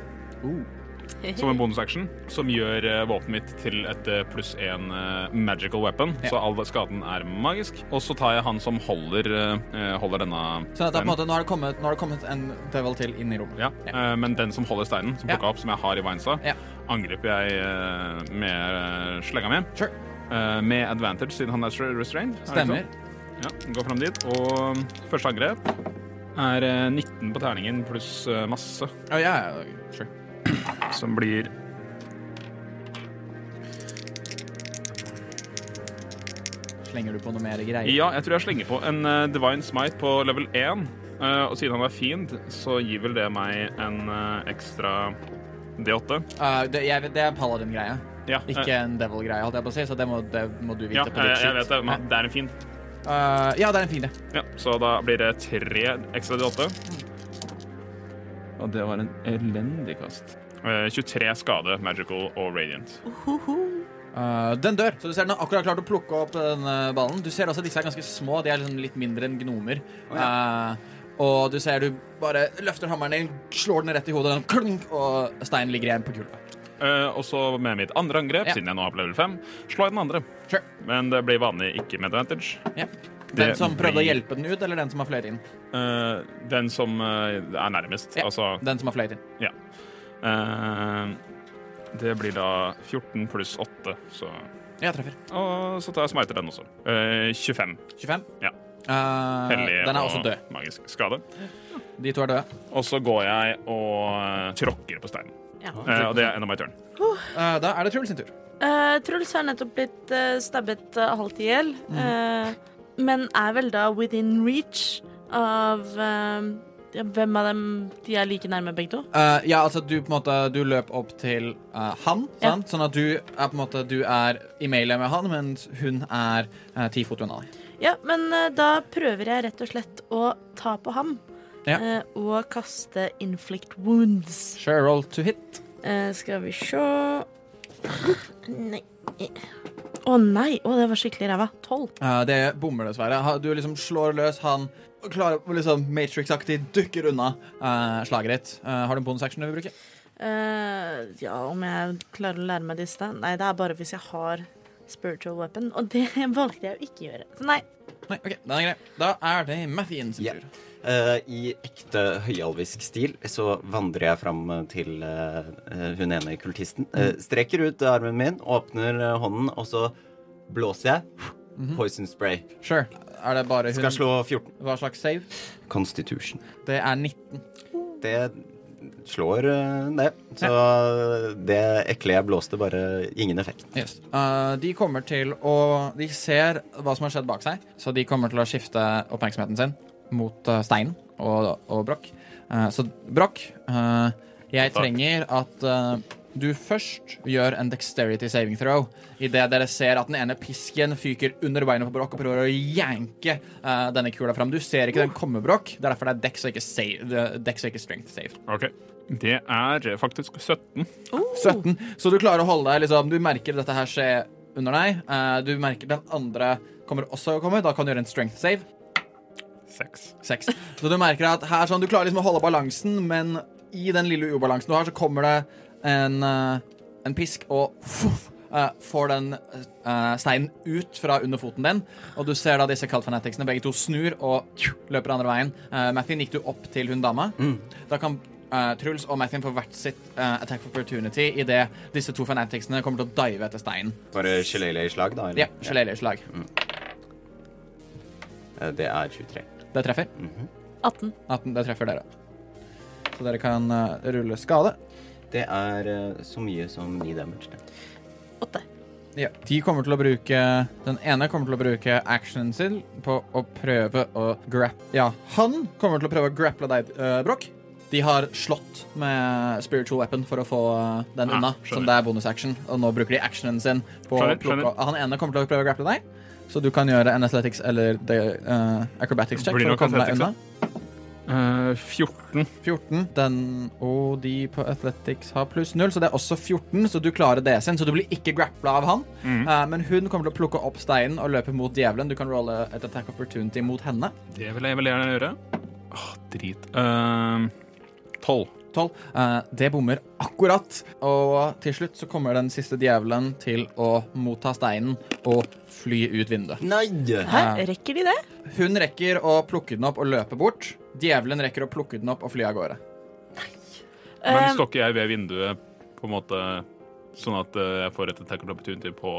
Speaker 2: som en bonusaction, som gjør eh, våpenet mitt til et eh, pluss én eh, magical weapon.
Speaker 5: Ja.
Speaker 2: Så all skaden er magisk. Og så tar jeg han som holder, eh, holder denne
Speaker 5: Så dette er på en måte, nå har det kommet, nå har det kommet en devil til inn i rommet.
Speaker 2: Ja, eh, men den som holder steinen, som
Speaker 5: Ja.
Speaker 2: plukka opp, som jeg har i Vinesa,
Speaker 5: Ja.
Speaker 2: angriper jeg eh, med eh, slegga mi.
Speaker 5: Sure.
Speaker 2: Eh, med advantage, siden han er stra- restrained. er det
Speaker 5: Stemmer.
Speaker 2: ikke sånn? Ja, Går fram dit. Og første angrep er eh, 19 på terningen pluss eh, masse,
Speaker 5: Å, ja, ja, sure.
Speaker 2: som blir
Speaker 5: Slenger du på noe mer greier?
Speaker 2: Ja, jeg tror jeg slenger på en eh, Divine Smite på level 1. eh, og siden han er fiend, så gir vel det meg en eh, ekstra D8.
Speaker 5: Eh, det, jeg, vet- det er paladin-greie,
Speaker 2: Ja, eh,
Speaker 5: ikke en devil-greie, holdt jeg på å si, så det må, det må du vite
Speaker 2: ja eh,
Speaker 5: på ditt
Speaker 2: jeg, jeg vet det,
Speaker 5: Hæ?
Speaker 2: men det er en fiend.
Speaker 5: Eh, ja, det er en fin det.
Speaker 2: Ja, så da blir det tre ekstra D8. Og det var en elendig kast. 23 Eh, skade, magical og radiant.
Speaker 5: Eh, den dør, så du ser den har akkurat klart å plukke opp den eh, ballen. Du ser også at disse er ganske små, de er liksom litt mindre enn gnomer. Eh, og du ser du bare løfter hammeren din, slår den rett i hodet, den klunk, og steinen ligger igjen på gulvet.
Speaker 2: Eh, og så med mitt andre angrep,
Speaker 5: Ja.
Speaker 2: siden jeg nå har på level 5, slår jeg den andre.
Speaker 5: Sure.
Speaker 2: Men det blir vanlig ikke med advantage.
Speaker 5: Ja. Den
Speaker 2: Det
Speaker 5: som prøvde å
Speaker 2: blir-
Speaker 5: hjelpe den ut, eller den som har fløyet inn?
Speaker 2: Eh, den som eh, er nærmest,
Speaker 5: Ja.
Speaker 2: altså
Speaker 5: Den som har fløyet inn.
Speaker 2: Ja. Eh, det blir da 14 pluss 8, så
Speaker 5: Ja, treffer.
Speaker 2: Og så tar jeg smiter den også. Eh, 25.
Speaker 5: 25.
Speaker 2: Ja.
Speaker 5: Eh,
Speaker 2: Hellig
Speaker 5: den er
Speaker 2: og
Speaker 5: også død.
Speaker 2: magisk skade.
Speaker 5: De to er døde.
Speaker 2: Og så går jeg og eh, tråkker på steinen.
Speaker 3: Ja.
Speaker 2: Eh, og det er enda my turn.
Speaker 5: Eh, da er det Truls sin tur.
Speaker 3: Eh, Truls har nettopp blitt eh, stabbet eh, halvt i hjel, eh, men er vel da within reach av eh, ja, Hvem av dem de er like nærme, begge to?
Speaker 5: Eh, ja, altså du på en måte Du løp opp til eh, han,
Speaker 3: Ja.
Speaker 5: sant? Sånn at du er på en måte Du er i mailet med han, mens hun er eh, ti fot unna deg.
Speaker 3: Ja, men eh, da prøver jeg rett og slett å ta på ham.
Speaker 5: Ja.
Speaker 3: eh, og kaste inflict wounds.
Speaker 5: Sure, roll to hit.
Speaker 3: Eh, skal vi sjå Nei Å nei! Å, det var skikkelig ræva. Tolv.
Speaker 5: Eh, det bommer dessverre. Ha- Du liksom slår løs han og klarer å liksom Matrix-aktig dukker unna eh, slaget ditt. Eh, har du en bonus action du vil bruke?
Speaker 3: Eh, ja, om jeg klarer å lære meg disse. Nei, det er bare hvis jeg har spiritual weapon, og det valgte jeg å ikke gjøre. Så Nei.
Speaker 5: Nei, ok, den er grei. Da er det Mathien sin
Speaker 6: Ja.
Speaker 5: tur.
Speaker 6: Eh, I ekte høyalvisk stil så vandrer jeg fram til eh, eh, hun ene kultisten. eh, streker ut armen min, åpner eh, hånden, og så blåser jeg. Poison spray.
Speaker 5: Sure. Er det bare
Speaker 6: Skal
Speaker 5: hun?
Speaker 6: jeg slå 14.
Speaker 5: Hva slags save?
Speaker 6: Constitution.
Speaker 5: Det er 19.
Speaker 6: Det slår eh, det. Så det ekle jeg blåste, bare ingen effekt.
Speaker 5: Yes. Eh, de kommer til å De ser hva som har skjedd bak seg, så de kommer til å skifte oppmerksomheten sin mot eh, steinen og, og Brokk. Eh, så Brokk, eh, jeg trenger at eh, du først gjør en dexterity saving throw idet dere ser at den ene pisken fyker under beinet på Brokk og prøver å janke eh, denne kula fram. Du ser ikke den komme, Brokk. Det er derfor det er dex og ikke, save, det- dex og ikke strength save.
Speaker 2: OK. Det er faktisk 17.
Speaker 5: 17. Så du klarer å holde deg liksom, Du merker dette her skje under deg. Eh, du merker den andre kommer også å komme. Da kan du gjøre en strength save.
Speaker 2: 6.
Speaker 5: Seks. Så du merker at her sånn, du klarer liksom å holde balansen, men i den lille ubalansen du har, så kommer det en, eh, en pisk og fuff, eh, får den eh, steinen ut fra under foten din. Og du ser da disse Cult Fanaticsene begge to snur og tju, løper andre veien. Uh, Mathin, gikk du opp til hun dama? Da kan eh, Truls og Mathin få hvert sitt eh, attack for opportunity idet disse to fanaticsene kommer til å dive etter steinen.
Speaker 6: Bare gelélé-slag, da? eller?
Speaker 5: Ja, Shillelay-slag.
Speaker 6: Eh, Det er 23.
Speaker 5: Det treffer.
Speaker 3: 18.
Speaker 5: 18, det treffer dere. Så dere kan eh, rulle skade.
Speaker 6: Det er eh, så mye som 9 damage. det.
Speaker 3: 8.
Speaker 5: Ja. De kommer til å bruke Den ene kommer til å bruke actionen sin på å prøve å grapple Ja, han kommer til å prøve å grapple deg, eh, Broch. De har slått med spiritual weapon for å få eh, den
Speaker 2: Ah,
Speaker 5: unna,
Speaker 2: skjønner.
Speaker 5: som det er bonusaction. Og nå bruker de actionen sin på
Speaker 2: Skjønner,
Speaker 5: å plukke
Speaker 2: skjønner.
Speaker 5: Han ene kommer til å prøve å grapple deg, så du kan gjøre en athletics eller the, eh, acrobatics check
Speaker 2: Blir
Speaker 5: for
Speaker 2: nok
Speaker 5: å komme deg
Speaker 2: athletics,
Speaker 5: unna.
Speaker 2: Eh, 14.
Speaker 5: 14. Den, og de på Athletics har pluss 0, så det er også 14. Så du klarer det sin, så du blir ikke grappla av han. Eh, men hun kommer til å plukke opp steinen og løpe mot djevelen. Du kan rolle et attack opportunity mot henne.
Speaker 2: Det vil jeg veldig gjerne gjøre. Åh, drit. Uh, 12.
Speaker 5: 12. Eh, det bommer akkurat. Og til slutt så kommer den siste djevelen til å motta steinen og fly ut vinduet.
Speaker 6: Nei!
Speaker 3: Hæ? Rekker de det?
Speaker 5: Hun rekker å plukke den opp og løpe bort. Djevelen rekker å plukke den opp og fly av gårde.
Speaker 2: Men
Speaker 3: Eh,
Speaker 2: står ikke jeg ved vinduet, på en måte, sånn at eh, jeg får et tackle opportunity på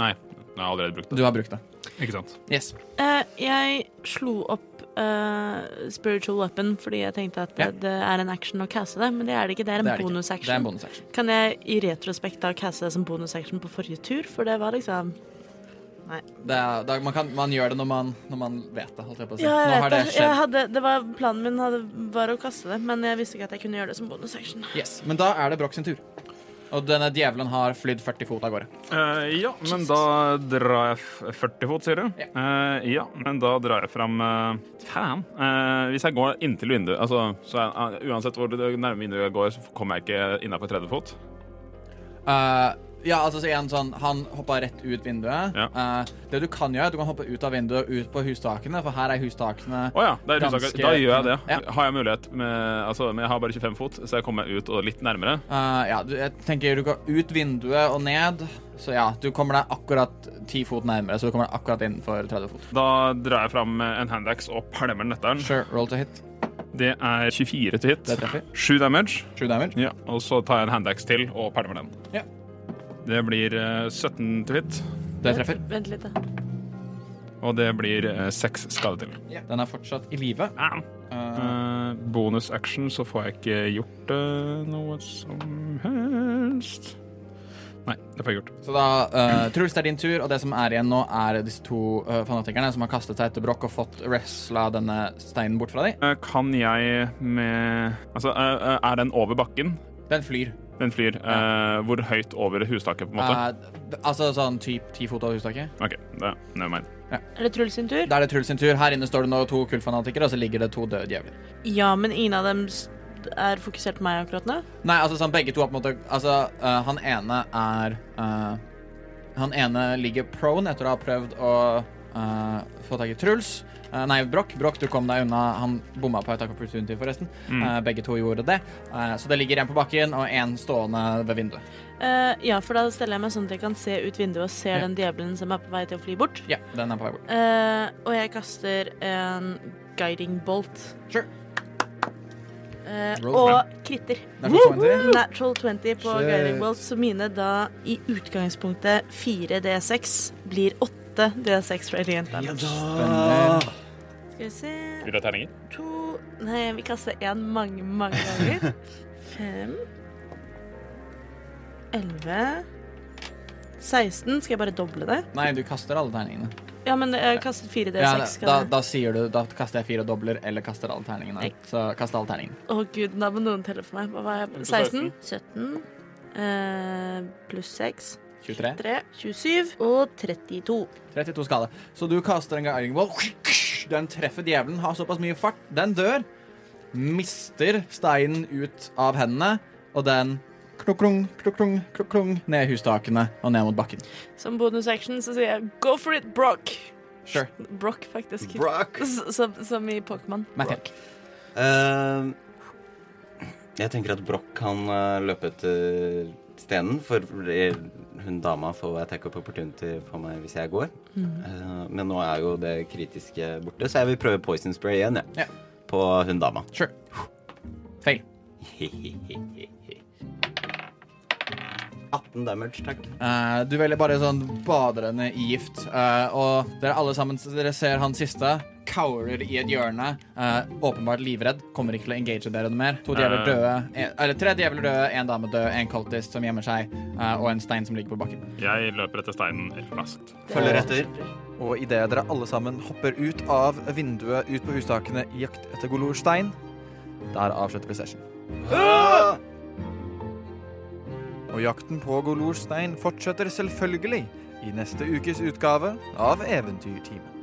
Speaker 2: Nei, jeg har allerede brukt det.
Speaker 5: Du har brukt det.
Speaker 2: Ikke sant?
Speaker 5: Yes.
Speaker 3: Eh, jeg slo opp eh, spiritual weapon fordi jeg tenkte at
Speaker 5: Ja.
Speaker 3: det, det er en action å caste det, men det er det ikke. Det er en
Speaker 5: det ikke. Det er en
Speaker 3: bonusaction.
Speaker 5: bonusaction.
Speaker 3: Kan jeg i retrospekt da caste det som bonusaction på forrige tur, for det var liksom
Speaker 5: Det er, da, man, kan, man gjør det når man, når man vet det, holdt jeg på å si.
Speaker 3: Ja,
Speaker 5: Nå
Speaker 3: jeg
Speaker 5: har
Speaker 3: vet
Speaker 5: det
Speaker 3: det. Jeg
Speaker 5: skjedd.
Speaker 3: hadde, det var, planen min hadde, var å kaste det, men jeg visste ikke at jeg kunne gjøre det som bonusaction.
Speaker 5: Yes. Men da er det Broch sin tur. Og denne djevelen har flydd 40 fot av gårde.
Speaker 2: Eh, ja, men da drar jeg f- 40 fot, sier du?
Speaker 5: Ja.
Speaker 2: Eh, ja, men da drar jeg fram eh, Faen. Eh, hvis jeg går inntil vinduet altså, så jeg, Uansett hvor det nærme vinduet jeg går, så kommer jeg ikke innafor 30 fot.
Speaker 5: Eh, ja, altså så igjen sånn Han hoppa rett ut vinduet.
Speaker 2: Ja.
Speaker 5: Eh, det du kan gjøre, er at du kan hoppe ut av vinduet og ut på hustakene, for her er hustakene
Speaker 2: Å ja, det er hussaker.
Speaker 5: Ganske-
Speaker 2: Da gjør jeg det.
Speaker 5: Ja.
Speaker 2: Har jeg mulighet med Altså, men jeg har bare 25 fot, så jeg kommer meg ut og litt nærmere.
Speaker 5: Eh, Ja, du, jeg tenker du går ut vinduet og ned, så ja, du kommer deg akkurat 10 fot nærmere, så du kommer deg akkurat innenfor 30 fot.
Speaker 2: Da drar jeg fram en handax og pælmer nøtteren.
Speaker 5: Sure, roll to hit.
Speaker 2: Det er 24 til hit.
Speaker 5: Det treffer.
Speaker 2: 7 damage.
Speaker 5: 7 damage.
Speaker 2: Ja, og så tar jeg en handax til og pælmer den.
Speaker 5: Ja.
Speaker 2: Det blir eh, 17 til hit,
Speaker 5: Det treffer.
Speaker 3: Vent litt, da.
Speaker 2: og det blir eh, 6 skade til.
Speaker 5: Den er fortsatt i live.
Speaker 2: Bam.
Speaker 5: Eh,
Speaker 2: Eh, bonus action så får jeg ikke gjort eh, noe som helst. Nei, det får jeg gjort.
Speaker 5: Så da, eh, Truls, det er din tur, og det som er igjen nå, er disse to eh, fanatikerne som har kastet seg etter Broch og fått wrestla denne steinen bort fra dem.
Speaker 2: Eh, kan jeg med Altså, eh, eh, er den over bakken?
Speaker 5: Den flyr.
Speaker 2: Den flyr eh, hvor høyt over hustaket, på en måte?
Speaker 5: Eh, d- altså sånn typ ti fot over hustaket.
Speaker 2: OK, det, never mind.
Speaker 3: Er det Truls sin tur?
Speaker 5: Da er det Truls sin tur. Her inne står det nå to kultfanatikere, og så ligger det to døde djevler.
Speaker 3: Ja, men ingen av dem s- er fokusert på meg akkurat nå.
Speaker 5: Nei, altså sånn begge to er på en måte Altså, eh, han ene er eh, Han ene ligger prone etter å ha prøvd å eh, få tak i Truls. Eh, nei, Broch. Broch, du kom deg unna. Han bomma på Attack Opportunity, forresten. Eh, begge to gjorde det. Eh, så det ligger en på bakken og en stående ved vinduet.
Speaker 3: Eh, ja, for da steller jeg meg sånn at jeg kan se ut vinduet og ser
Speaker 5: Ja.
Speaker 3: den djevelen som er på vei til å fly bort.
Speaker 5: Ja, den er på vei bort.
Speaker 3: Eh, og jeg kaster en guiding bolt.
Speaker 5: Sure.
Speaker 3: Eh,
Speaker 5: Roll.
Speaker 3: og kritter.
Speaker 5: Det er for 20.
Speaker 3: Natural 20 på
Speaker 5: Shit.
Speaker 3: guiding bolt, så mine da i utgangspunktet 4 D6 blir 8 D6 radiant damage. Ah.
Speaker 5: Spennende.
Speaker 3: Skal vi se
Speaker 2: Vil du ha terninger?
Speaker 3: To Nei, vi kaster én mange, mange ganger. Fem Elleve 16. Skal jeg bare doble det?
Speaker 5: Nei, du kaster alle terningene.
Speaker 3: Ja, men jeg kastet 4 D6.
Speaker 5: Ja,
Speaker 3: skal
Speaker 5: da,
Speaker 3: jeg-
Speaker 5: da sier du Da kaster jeg fire og dobler, eller kaster alle terningene.
Speaker 3: Nei.
Speaker 5: Så kast alle terningene.
Speaker 3: Å gud, da må noen telle for meg. Hva var jeg? på? 16? 17. eh, pluss 6.
Speaker 5: 23.
Speaker 3: 3. 27. Og 32.
Speaker 5: 32 skade. Så du kaster en guiding ball. Den treffer djevelen, har såpass mye fart. Den dør. Mister steinen ut av hendene, og den klukklung, klukklung, klukklung ned hustakene og ned mot bakken.
Speaker 3: Som bonusaction så sier jeg go for it, Brock.
Speaker 5: Sure.
Speaker 3: Brock, faktisk.
Speaker 6: Brock.
Speaker 3: S- Som, som i Pokémon.
Speaker 5: Matthew.
Speaker 6: Ehm, jeg tenker at Broch kan eh, løpe etter stenen, for eh, hun dama får attack of opportunity på meg hvis jeg går. Eh, men nå er jo det kritiske borte, så jeg vil prøve poison spray igjen, jeg.
Speaker 5: Ja.
Speaker 6: På hun dama.
Speaker 5: Sure. Fail.
Speaker 6: 18 damage, takk.
Speaker 5: Eh, du velger bare sånn baderne i gift, eh, og dere alle sammen dere ser han siste
Speaker 8: cowerer i et hjørne, eh, åpenbart livredd, kommer ikke til å engage dere noe mer. To djevler døde, en, eller tre djevler døde, en dame død, en kultist som gjemmer seg, eh, og en stein som ligger på bakken.
Speaker 2: Jeg løper etter steinen raskt.
Speaker 6: Følger etter.
Speaker 5: Og idet dere alle sammen hopper ut av vinduet ut på hustakene i jakt etter Golorstein, der avslutter vi session.
Speaker 6: Ah!
Speaker 5: Og jakten på Golorstein fortsetter selvfølgelig i neste ukes utgave av Eventyrtimen.